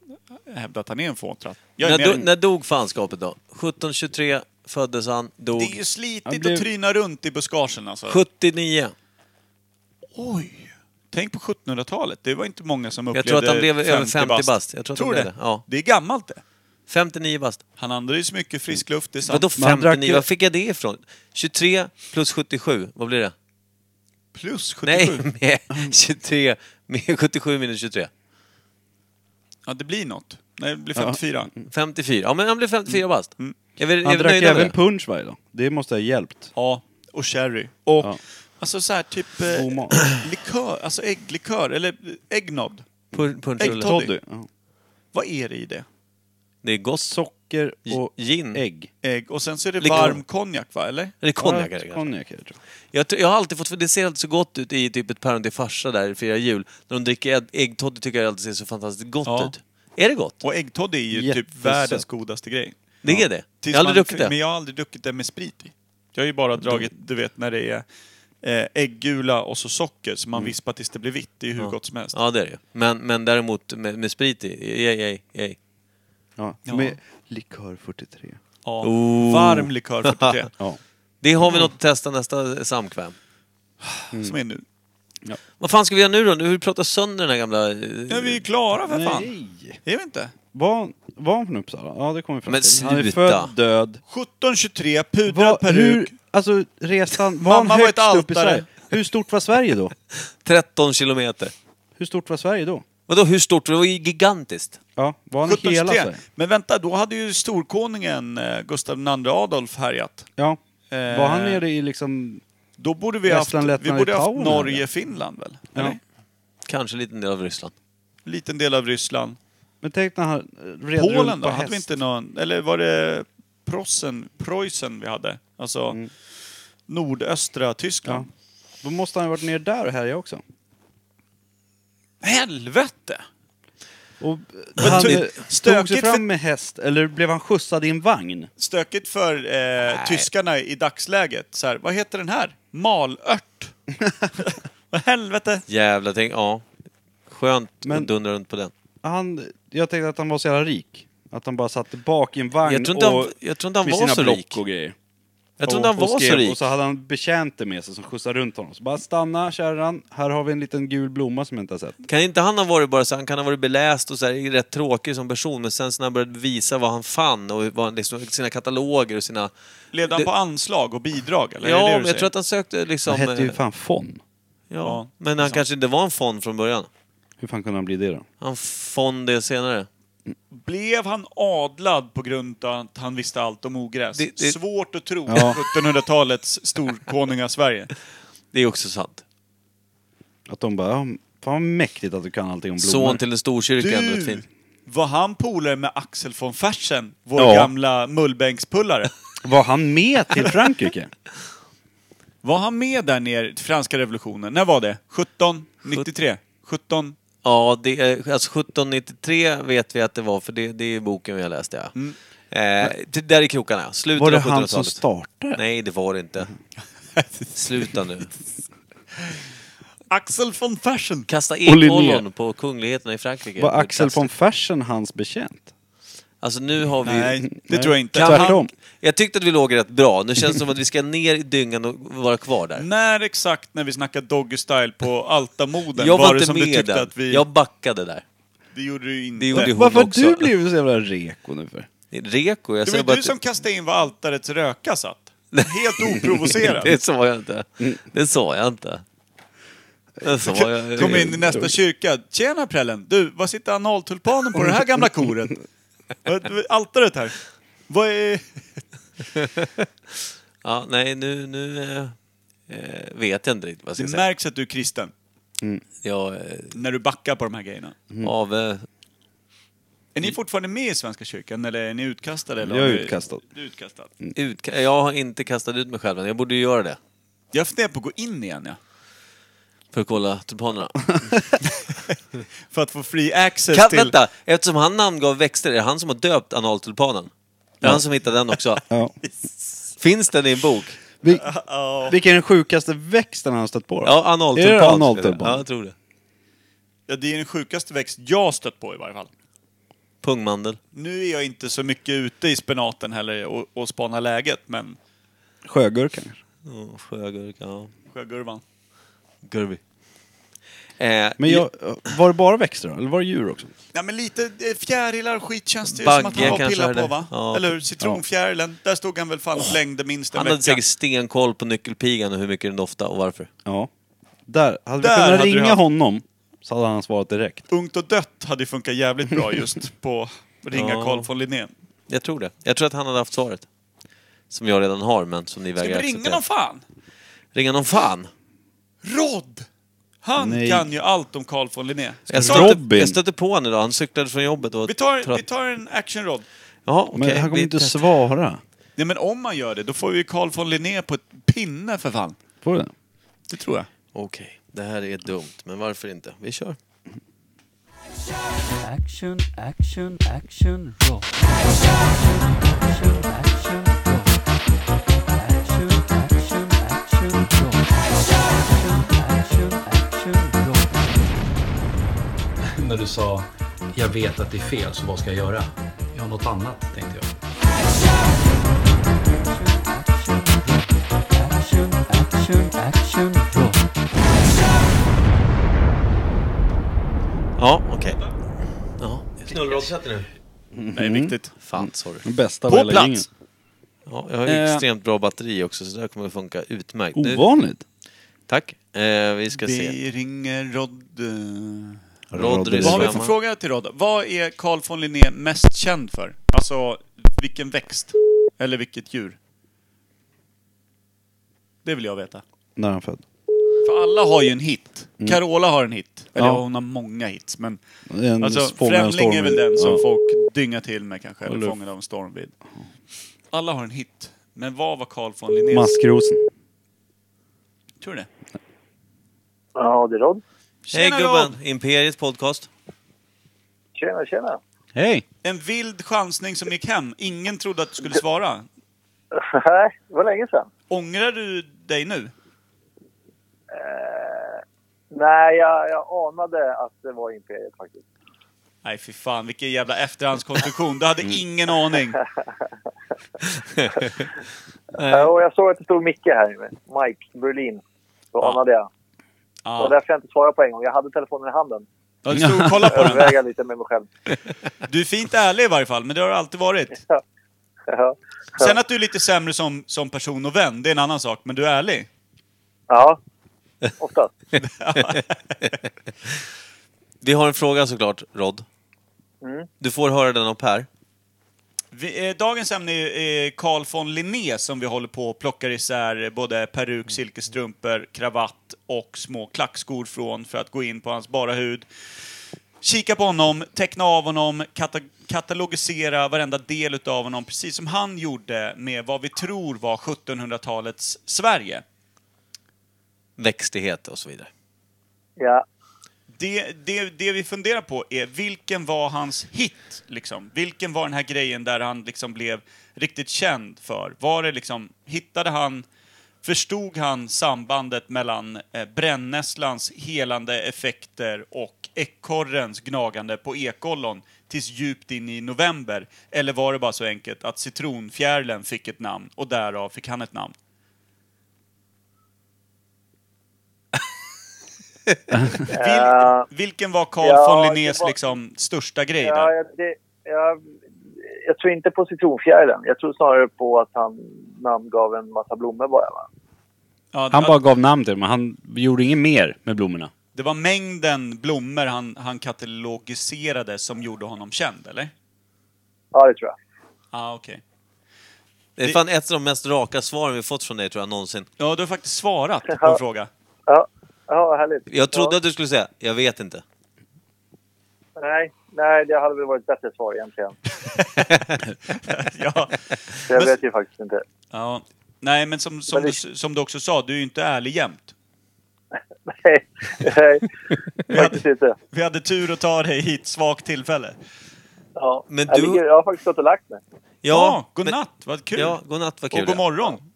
B: hävda att han är en fåntratt. Jag är
C: När, do,
B: med.
C: när dog fanskapet då? 1723 föddes han, dog
B: Det är ju slitigt
D: Han blev-
B: att tryna runt i buskagen alltså.
C: 79.
B: Oj! Tänk på 1700-talet. Det var inte många som
C: Jag
B: upplevde
C: tror att han blev över 50 bast. Jag tror att han
B: du
C: blev det. Ja.
B: Det är gammalt det.
C: 59 bast.
B: Han andades mycket frisk luft, det är sant.
C: Vadå
D: Men han drack
C: 59?
D: ju-
C: Var fick jag det ifrån? 23 plus 77, vad blir det?
B: Plus 77.
C: Nej, med 23, med 77 minus 23.
B: Ja, det blir något. Nej, det blir 54.
D: Mm.
C: 54. Ja, men han blev 54 bast. Är vi,
D: Han
C: är vi
D: drack
C: nöjda med
D: även
C: det?
D: punch varje dag. Det måste ha hjälpt.
B: Ja, och sherry. Och
D: Ja.
B: alltså så här typ
D: God
B: eh,
D: mat.
B: likör, alltså ägglikör eller äggnod.
C: Pun- Punschrulle.
B: Äggtoddy.
D: Toddy. Ja.
B: Vad är det i det?
C: Det är gott.
D: Socker och
C: Gin.
D: ägg.
B: Ägg och sen så är det
C: Likör.
B: varm konjak va, eller?
C: Eller konjak är
D: Ja,
C: det kanske.
D: Konjak är det, tror
C: Jag, tror- jag har alltid fått, för det ser alltid så gott ut i typ ett päron till farsa där i Fira Jul. När de dricker ägg- äggtoddy tycker jag alltid ser så fantastiskt gott
B: Ja.
C: ut. Är det gott?
B: Och äggtoddy är ju typ
D: Jättesött.
B: världens godaste grej.
C: Det är det?
B: Tills
C: jag har aldrig
B: man-
C: druckit det.
B: Men jag har aldrig druckit det med sprit i. Jag har ju bara dragit, du vet när det är eh, äggula och så socker som man
D: Mm.
B: vispar tills det blir vitt. Det är ju hur gott som helst.
C: Ja, det är det ju. Men, men däremot med, med sprit i, ej, ej, ej.
D: jag.
B: Ja.
D: Ja. Med likör 43.
B: Ja.
C: Oh.
B: Varm likör 43,
D: Ja.
C: Det har vi något att testa nästa samkväm.
D: Mm.
B: som är nu.
C: Vad fan ska vi göra nu då? Nu har vi pratat sönder den här gamla... eh,
B: Ja, vi är klara för fan.
D: Nej!
B: Är vi inte?
D: Var, var han från Uppsala? Ja, det kommer vi fram
C: Men
D: till. Han är
C: sluta.
D: född död.
B: 1723, pudrad
D: Vad-
B: peruk.
D: alltså resan, var han
B: Mamma var
D: högst
B: ett
D: upp i
B: altare.
D: Sverige? Hur stort var Sverige då?
C: 13 kilometer.
D: Hur stort var Sverige då?
C: Vadå, hur stort? Det var ju gigantiskt.
D: Ja, var han i hela
B: 1723.
D: Sverige?
B: Men vänta, då hade ju storkonungen eh, Gustav II Adolf härjat.
D: Ja.
B: Eh,
D: Var han nere i liksom...
B: Då borde vi haft,
D: Estland,
B: vi
D: Lettland,
B: borde haft
D: Litauen,
B: Norge,
D: eller?
B: Finland väl?
D: Ja.
B: Eller?
C: Kanske en liten del av Ryssland.
B: Liten del av Ryssland.
D: Men tänk när han eh, red
B: Polen
D: runt
B: då?
D: på
B: Hade
D: häst.
B: vi inte någon... Eller var det Prossen, Preussen vi hade? Alltså
C: Mm.
B: nordöstra
D: Ja.
B: Tyskland.
D: Då måste han ha varit nere där och härjat också.
B: Helvete!
D: Och han
B: ty-
D: eh, tog sig
B: stökigt för-
D: fram med häst, eller blev han skjutsad i en vagn?
B: Stökigt för eh, tyskarna i dagsläget. Så här, vad heter den här? Malört. Vad helvete!
C: Jävla tänk, ja. Skönt
D: Men-
C: att dundra runt på den.
D: Han, jag tänkte att han var så jävla rik. Att han bara satt bak i en vagn
C: Jag tror inte han-
D: och
C: jag tror inte han
D: med
C: var
D: sina
C: så
D: block
C: rik.
D: och grejer.
C: Jag tror inte han
D: och,
C: var
D: och skrev,
C: så rik.
D: Och så hade han betjänter med sig som skjutsade runt honom. Så bara stanna kärran, här har vi en liten gul blomma som jag inte har sett.
C: Kan inte han ha varit bara så, han kan ha varit beläst och så här, rätt tråkig som person, men sen så när han började visa vad han fann och vad han, liksom, sina kataloger och sina...
B: Levde han
C: Det-
B: på anslag och bidrag eller? Är
C: ja,
B: det det du
C: men jag
B: säger?
C: tror att han sökte liksom...
D: Han hette ju
C: eh,
D: fan Fon.
C: ja,
B: Ja,
C: men han kanske inte var en fond från början.
D: Hur fan kunde han bli det då?
C: Han fond det senare.
B: Blev han adlad på grund av att han visste allt om ogräs?
C: Det- det-
B: Svårt att tro.
D: Ja.
B: 1700-talets storkonunga-Sverige.
C: Det är också sant.
D: Att de bara, ja, fan vad mäktigt att du kan allting om blommor.
C: Son till en storkyrka, ändå ett fint.
B: Du! Var han polare med Axel von Fersen, vår
D: Ja.
B: gamla mullbänkspullare?
D: Var han med till Frankrike?
B: Var han med där nere i franska revolutionen? När var det? 1793? 17...
C: Ja, det, är- alltså 1793 vet vi att det var, för det, det är boken vi har läst, ja.
B: Mm.
C: Eh, det där är krokarna, slutet
D: var det
C: av 1700-talet.
D: han som startade?
C: Nej, det var det inte. Sluta nu.
B: Axel von Fersen!
C: Kasta
D: Linné.
C: ekollon på kungligheterna i Frankrike.
D: Var Axel von Fersen hans betjänt?
C: Alltså nu har vi...
B: Nej, det tror jag inte.
C: Kan
D: Tvärtom.
C: han... Jag tyckte att vi låg rätt bra. Nu känns det som att vi ska ner i dyngan och vara kvar där.
B: När exakt när vi snackade Doggy Style på Altamoden
C: jag var
B: det
C: inte
B: som
C: med
B: du tyckte
C: den.
B: att vi...
C: Jag backade där.
B: Det gjorde du inte.
C: Det gjorde hon
D: Varför har
C: också.
D: du blivit så jävla reko nu för?
C: Reko? Jag
B: Det
C: säger
B: var ju
C: bara
B: du
C: att-
B: som kastade in var altarets röka satt. Helt oprovocerat.
C: Det sa jag inte.
B: Mm.
C: Det sa jag inte. Det sa jag
B: Kom in i nästa kyrka. Tjena prällen! Du, var sitter analtulpanen på det här gamla koret? Vad- Altaret här. Vad är...
C: Ja, nej, nu, nu eh, eh, vet jag inte riktigt vad jag ska
B: Det
C: säga.
B: märks att du är kristen.
C: Jag eh,
B: När du backar på de här grejerna.
D: Mm.
C: av... Eh,
B: Är ni fortfarande med i Svenska kyrkan eller är ni utkastade? Eller
D: Jag är
B: har ni-
D: utkastad.
B: Du är utkastad.
C: ut, jag har inte kastat ut mig själv än. Jag borde ju göra det.
B: Jag funderar på att gå in igen ja.
C: För att kolla tulpanerna.
B: För att få free access
C: Kan,
B: till...
C: Vänta! Eftersom han namngav växter, är det han som har döpt analtulpanen? Det är han som hittade den också.
D: Ja.
C: Finns den i en bok?
D: Vi, vilken är den sjukaste växten han har stött på då?
C: Ja,
D: Är
C: analtulpan.
D: det
C: skulle jag säga.
D: analtulpan?
C: Ja, jag tror det.
B: Ja, det är den sjukaste växt jag stött på i varje fall.
C: Pungmandel.
B: Nu är jag inte så mycket ute i spenaten heller och, och spanar läget, men
D: Sjögurkan kanske?
C: Oh, Sjögurka, ja.
B: sjögurvan.
C: Gurvi. Eh,
D: Men jag, var det bara växter då? Eller var det djur också?
B: Ja, men lite eh, fjärilar och skit känns det ju
C: Bagge
B: som att han var och
C: kanske
B: pillade på
C: hade.
B: va?
C: Ja.
B: Eller hur? Citronfjärilen, där stod han väl fan och flängde minst en
C: han
B: vecka.
C: hade säkert stenkoll på nyckelpigan och hur mycket den doftade och varför.
D: Ja. Där, hade
B: Där
D: vi
B: hade
D: kunnat
B: du
D: ringa
B: haft-
D: honom så hade han svarat direkt.
B: Ungt och dött hade ju funkat jävligt bra just på ringa
C: Ja.
B: Carl von Linné.
C: Jag tror det. Jag tror att han hade haft svaret. Som jag redan har, men som ni
B: Ska vi
C: vägrar
B: ringa någon fan?
C: ringa någon fan?
B: Rod! Han
D: Nej.
B: kan ju allt om Carl von Linné.
C: Jag
B: Vi tar-
D: Robin.
C: stötte, jag stötte på honom idag. Han cyklade från jobbet och...
B: Vi tar,
C: trött.
B: vi tar en action-Rod.
C: Jaha, okej.
D: Men han kommer
C: vi
D: inte att
C: testar.
D: svara.
B: Nej men om man gör det, då får vi Carl von Linné på ett pinne för fan.
D: Får du det?
B: Det tror jag.
C: Okej, det här är dumt, men varför inte? Vi kör.
I: Action, action, action, roll. Action, action, roll. Action, action, action, roll. Action, action, action, roll.
J: när du sa jag vet att det är fel, så vad ska jag göra? Ja, något annat, tänkte jag.
I: Action, action, action, roll.
C: Ja, okej. Ja. Knullrollsätter nu.
B: Nej, viktigt.
C: Fan, sorry.
D: Den bästa
B: På
D: av hela
B: plats.
D: gänget.
C: Ja, jag har ju
D: Mm. Eh.
C: extremt bra batteri också, så det här kommer att funka utmärkt. Nu-
D: Ovanligt.
C: Tack. Eh, vi ska se.
B: Vi ringer Rod... eh,
C: Rodri
B: Vad har vi
C: Svämma.
B: för fråga till Rod? Vad är Carl von Linné mest känd för? Alltså, vilken växt? Eller vilket djur? Det vill jag veta.
D: När han född.
B: För alla har ju en hit. Carola har en hit. Eller
D: Mm. Ja.
B: hon har många hits, men...
D: En
B: Alltså,
D: fångad
B: Främling är väl
D: stormvind.
B: den som
D: Ja.
B: folk dyngar till med kanske, eller
D: Eller-
B: fångad av en stormvind. Alla har en hit. Men vad var Carl von Linnés?
D: Maskrosen.
B: Tror du det?
K: Ja, det är Rod.
C: Hej
B: Tjena Rod!
C: gubben! Imperiet podcast.
K: Tjena, tjena.
D: Hej!
B: En vild chansning som gick hem. Ingen trodde att du skulle svara.
K: Nej, det var länge sedan.
B: Ångrar du dig nu?
K: Nej, jag, jag anade att det var Imperiet faktiskt.
B: Nej fy fan, vilken jävla efterhandskonstruktion. Du hade ingen aning.
K: Ja, Och jag såg att det stod Micke här. Mike Berlin. Då anade jag. Det var
B: Ja.
K: därför jag inte svarade på en gång. Jag hade telefonen i handen.
B: Ja, Du stod och kollade på den.
K: Överväga lite med mig själv.
B: Du är fint ärlig i varje fall, men det har du alltid varit.
K: Ja.
B: Sen att du är lite sämre som, som person och vän, det är en annan sak. Men du är ärlig.
K: Ja, oftast.
C: Vi har en fråga såklart, Rod.
K: Mm.
C: Du får höra den av Per.
B: Vi, eh, dagens ämne är eh, Carl von Linné som vi håller på och plockar isär eh, både peruk, silkesstrumpor, kravatt och små klackskor från för att gå in på hans bara hud. Kika på honom, teckna av honom, kata katalogisera varenda del utav honom, precis som han gjorde med vad vi tror var 1700-talets Sverige.
C: Växtighet och så vidare.
K: Ja.
B: Det, det, det vi funderar på är vilken var hans hit? Liksom? Vilken var den här grejen där han liksom blev riktigt känd för? Var det liksom, hittade han, förstod han sambandet mellan eh, brännässlans helande effekter och ekorrens gnagande på ekollon tills djupt in i november? Eller var det bara så enkelt att citronfjärilen fick ett namn och därav fick han ett namn?
K: Eh,
B: Vil, vilken var Carl
K: ja,
B: von Linnés
K: det var-
B: liksom, största grej där?
K: ja, jag- det, jag, jag tror inte på citronfjärilen. Jag tror snarare på att han namngav en massa blommor bara. Va?
B: Ja,
D: Han
B: att-
D: bara gav namn till dem, men han gjorde inget mer med blommorna.
B: Det var mängden blommor han, han katalogiserade som gjorde honom känd, eller?
K: Ja, det tror jag.
B: Ja, ah, okej.
C: Det är
B: Det-
C: fan ett av de mest raka svaren vi fått från dig tror jag någonsin.
B: Ja, du har faktiskt svarat på en fråga.
K: Ja, ja härligt.
C: Jag trodde
K: ja.
C: att du skulle säga, jag vet inte.
K: Nej, nej, det hade väl varit ett bättre svar egentligen.
B: ja.
K: Jag
B: Men-
K: vet ju faktiskt inte.
B: ja. Nej, men som, som,
K: Men
B: du, som du också sa, du är ju inte ärlig jämt.
K: Nej, nej, faktiskt inte.
B: Vi hade tur att ta dig hit, svagt tillfälle.
K: Ja.
B: Men
K: Jag,
B: du-
K: ligger, jag har faktiskt gått och lagt mig.
B: Ja, god natt, vad kul!
C: Ja, god natt, vad kul,
B: Och god
C: ja.
B: morgon!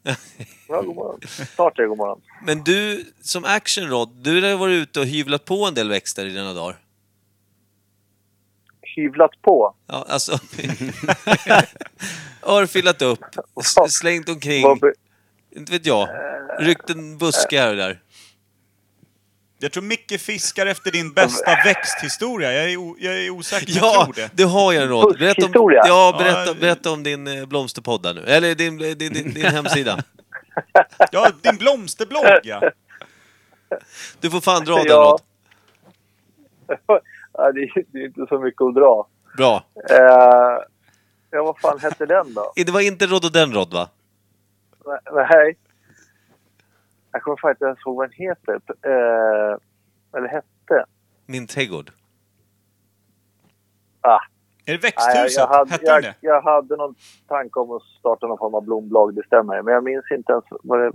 K: Ja, god morgon. Snart är det god morgon.
C: Men du, som actionrod, du har ju varit ute och hyvlat på en del växter i dina dagar.
K: Hyvlat på.
C: Ja, alltså... Örfilat upp, s- slängt omkring. Inte vet jag. Ryckt en buske här och där.
B: Jag tror Micke fiskar efter din bästa växthistoria. Jag är, o- jag är osäker, jag
C: Ja,
B: tror det.
C: det har jag en rad. Berätta om,
B: Buskhistoria.
C: ja, berätta,
B: Ja.
C: berätta om din eh, blomsterpodd där nu. Eller din, din, din, din hemsida.
B: Ja, din blomsterblogg ja.
C: Du får fan dra den
K: Ja.
C: Rod.
K: Ja, det, är, det är inte så mycket att dra.
C: Bra.
K: Eh, ja, vad fan hette den då?
C: Det var inte Rod och den Rod va?
K: Nej. Jag kommer fan inte ens ihåg vad den heter. Eh, eller hette.
C: Min trädgård.
K: Ah.
B: Är det
K: Nej,
B: växthuset?
K: jag, hade,
B: Hette den
K: jag,
B: det?
K: jag hade någon tanke om att starta någon form av blombolag, det stämmer. Men jag minns inte ens vad, det,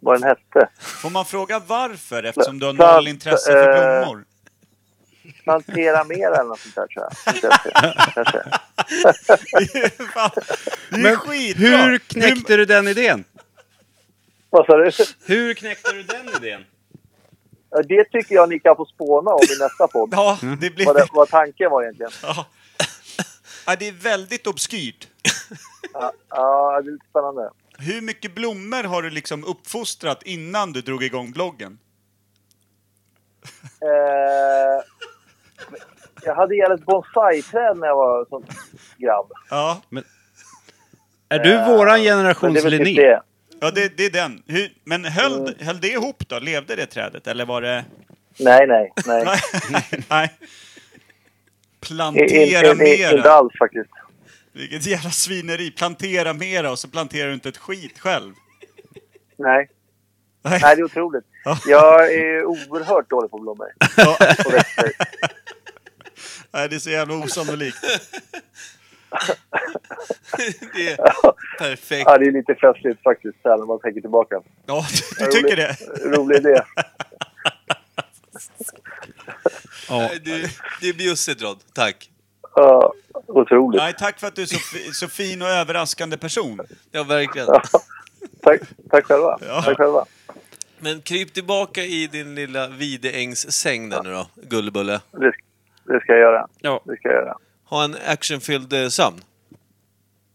K: vad den hette.
B: Får man fråga varför eftersom du har
K: Plant-
B: noll intresse för
K: eh,
B: blommor?
K: Plantera mera eller något sånt där tror jag. Kanske.
B: Det är skitbra! Mm.
D: hur knäckte du den idén?
K: Vad sa du?
D: Hur knäckte du den idén?
K: Ja, Det tycker jag ni kan få spåna om i nästa podd.
B: Ja, det blir-
K: vad, det, vad tanken var egentligen.
B: Ja. Ja, det är väldigt obskyrt.
K: Ja, ja, det är lite spännande.
B: Hur mycket blommor har du liksom uppfostrat innan du drog igång bloggen?
K: Eh, jag hade jävligt bonsai-träd när jag var som grabb.
B: Ja.
D: Är du våran generations
K: typ
D: Linné?
B: Ja, det, det är den. Hur, men höll, höll det ihop då? Levde det trädet eller var det...
K: Nej, nej, nej.
B: Nej.
K: I-
B: Plantera
K: inte- inte- Inte
B: mera.
K: alls faktiskt.
B: Vilket jävla svineri. Plantera mera och så planterar du inte ett skit själv.
K: Nej.
B: Nej,
K: det är otroligt. Jag är oerhört dålig på blommor. Och växter.
B: Nej, det är så jävla osannolikt.
C: det är perfekt.
K: Ja, det är lite festligt faktiskt, så här, när man tänker tillbaka.
B: Ja, du
K: Rolig-
B: tycker det?
K: Rolig idé.
D: Ja.
C: Det, det är bjussigt Rod. Tack.
K: Ja, otroligt.
B: Nej, tack för att du är så, fi- så fin och överraskande person.
C: Ja, verkligen.
K: Tack, tack själva.
C: Ja.
K: Tack själva.
C: Men kryp tillbaka i din lilla Videängs säng där nu då, Gullebulle.
K: Det, det ska jag göra.
D: Ja.
K: Det ska jag göra.
C: Ha en actionfylld eh, sömn.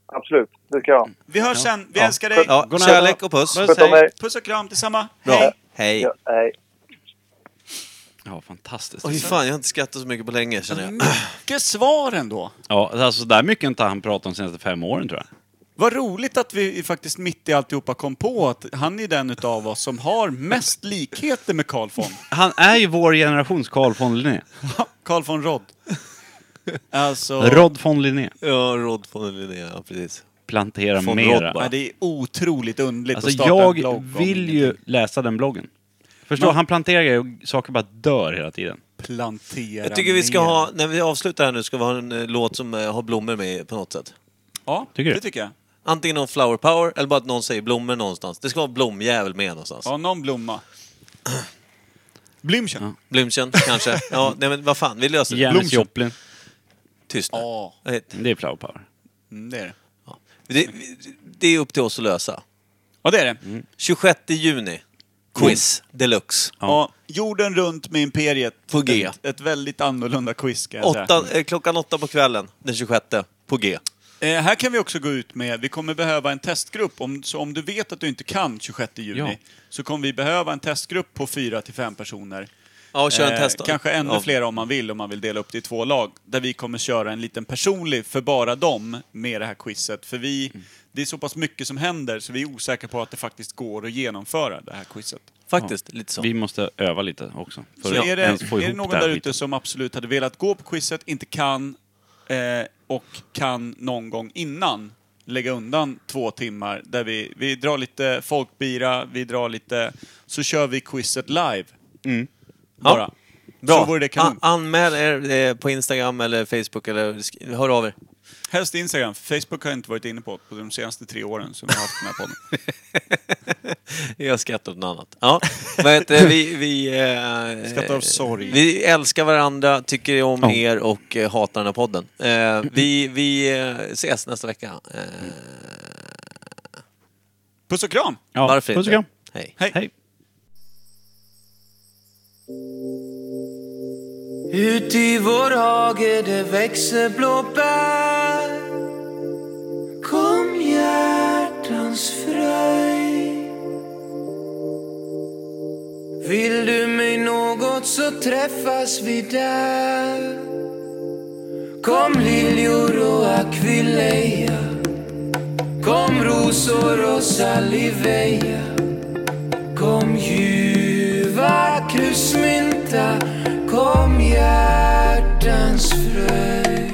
K: Absolut, det ska jag ha.
B: Vi hörs sen. Vi
C: Ja.
B: älskar dig.
C: Ja, Godnatt. kärlek och Mm. puss. Puss,
B: Puss,
C: hej.
B: puss och kram, detsamma.
C: Bra.
B: Hej.
C: Hej.
K: Ja, hej.
D: Ja, fantastiskt.
C: Oj, fan, jag har inte skrattat så mycket på länge känner jag.
B: Mycket svar ändå.
D: Ja, alltså där mycket har inte han pratat om de senaste fem åren tror jag.
B: Vad roligt att vi faktiskt mitt i alltihopa kom på att han är den utav oss som har mest likheter med Carl von.
D: Han är ju vår generations Carl von Linné.
B: Carl von Rod. Alltså...
D: Rod von Linné.
C: Ja, Rod von Linné, ja precis.
D: Plantera
C: Von
D: mera.
C: Rod bara.
B: Ja, det är otroligt underligt
D: Alltså
B: att starta en
D: jag
B: blogg om
D: vill ju läsa den bloggen. Förstår,
B: Men-
D: han planterar grejer och saker bara dör hela tiden.
B: Plantera
C: Jag tycker vi ska
B: mer.
C: ha, när vi avslutar här nu, ska vi ha en eh, låt som eh, har blommor med på något sätt.
B: Ja,
D: Tycker du?
B: det tycker jag.
C: Antingen någon flower power eller bara att någon säger blommor någonstans. Det ska vara blomjävel med någonstans.
B: Ja, någon blomma. Blümchen. Ja.
C: Blümchen, kanske. Ja, nej men vad fan, vi löser det.
D: Janis
C: Blomchen.
D: Joplin.
C: Tyst nu. Jag vet.
D: Det är flower power.
B: mm, det är det.
C: Det, det är upp till oss att lösa.
B: Ja, det är det.
D: Mm,
C: 26 juni. Quiz deluxe.
B: Mm. Ja, jorden runt med Imperiet.
C: På G.
B: Ett, ett väldigt annorlunda quiz ska jag säga.
C: Åtta, eh, klockan åtta på kvällen den 26 på G.
B: Eh, här kan vi också gå ut med, vi kommer behöva en testgrupp. Om, så om du vet att du inte kan 26 juni eh,
D: Ja.
B: så kommer vi behöva en testgrupp på 4 till 5 personer.
C: Ja, och kör en
B: Eh,
C: test då.
B: Kanske ännu
C: Ja.
B: fler om man vill, om man vill dela upp det i två lag. Där vi kommer köra en liten personlig för bara dem med det här quizet. För vi, det är så pass mycket som händer så vi är osäkra på att det faktiskt går att genomföra det här quizet.
C: Faktiskt, lite så.
D: Vi måste öva lite också. För
B: Så
D: att
B: är det,
D: ens få
B: är det
D: ihop
B: någon
D: här
B: där
D: skiten.
B: ute som absolut hade velat gå på quizet, inte kan eh, och kan någon gång innan lägga undan två timmar där vi, vi drar lite folkbira, vi drar lite... Så kör vi quizet live.
D: Mm.
B: Bara.
C: Ja. Bra.
D: Ah,
B: Så vore det kanon.
C: A- anmäl er eh, på Instagram eller Facebook eller sk- hör av er.
B: Helst Instagram, för Facebook har jag inte varit inne på på de senaste tre åren som jag har haft den här podden.
C: Jag skrattar åt något annat. Ja, men vet du, vi... vi eh,
B: Skrattar av sorg.
C: Vi älskar varandra, tycker om er och eh, hatar den här podden. Eh, vi vi eh, ses nästa vecka. Eh,
B: Puss och kram!
C: Ja, Varför
D: puss och
C: inte?
D: kram.
C: Hej.
B: Hej!
L: Ut i vår hage det växer blåbär Kom hjärtans fröjd Vill du mig något så träffas vi där Kom liljor och akvileja Kom rosor och saliveja Kom ljuva krusmynta Kom hjärtans fröjd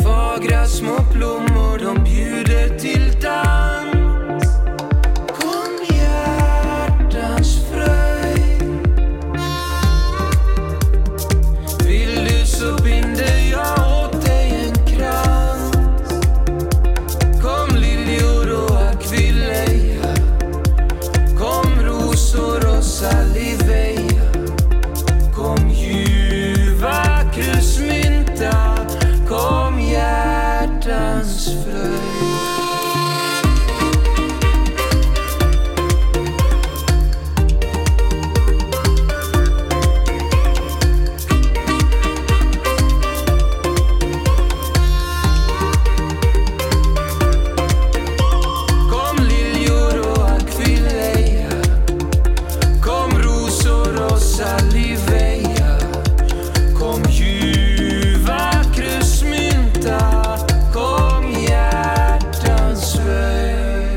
L: Fagra små blommor de bjuder till dans Kom hjärtans fröjd Vill du så binder jag åt dig en krans Kom liljor och akvileja Kom rosor och saliveja Kom ljuva krusmynta Kom hjärtans fröjd Kom liljor och akvileja Kom rosor och saliveja Kom ljuva krusmynta Kom hjärtans väg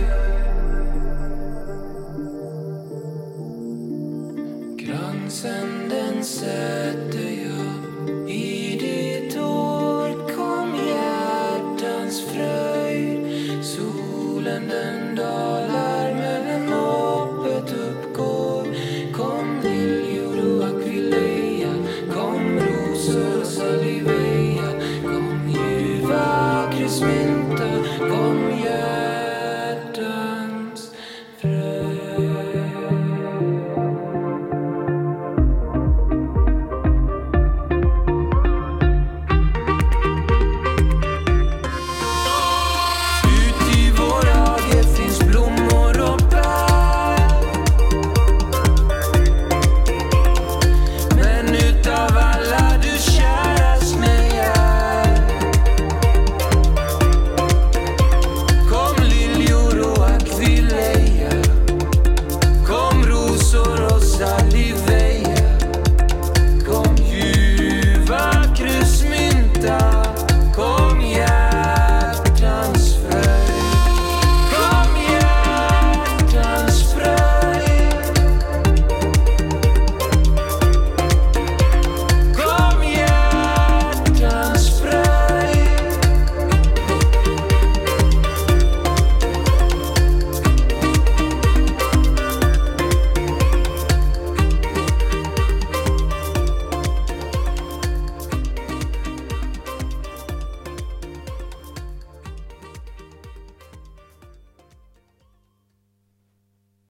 L: Kransen den sätter jag i ditt hår Kom hjärtans fröjd Solen den dalar men hoppet uppgår Kom liljor och akvileja Kom rosor och saliveja Kom ljuva krusmynta Kom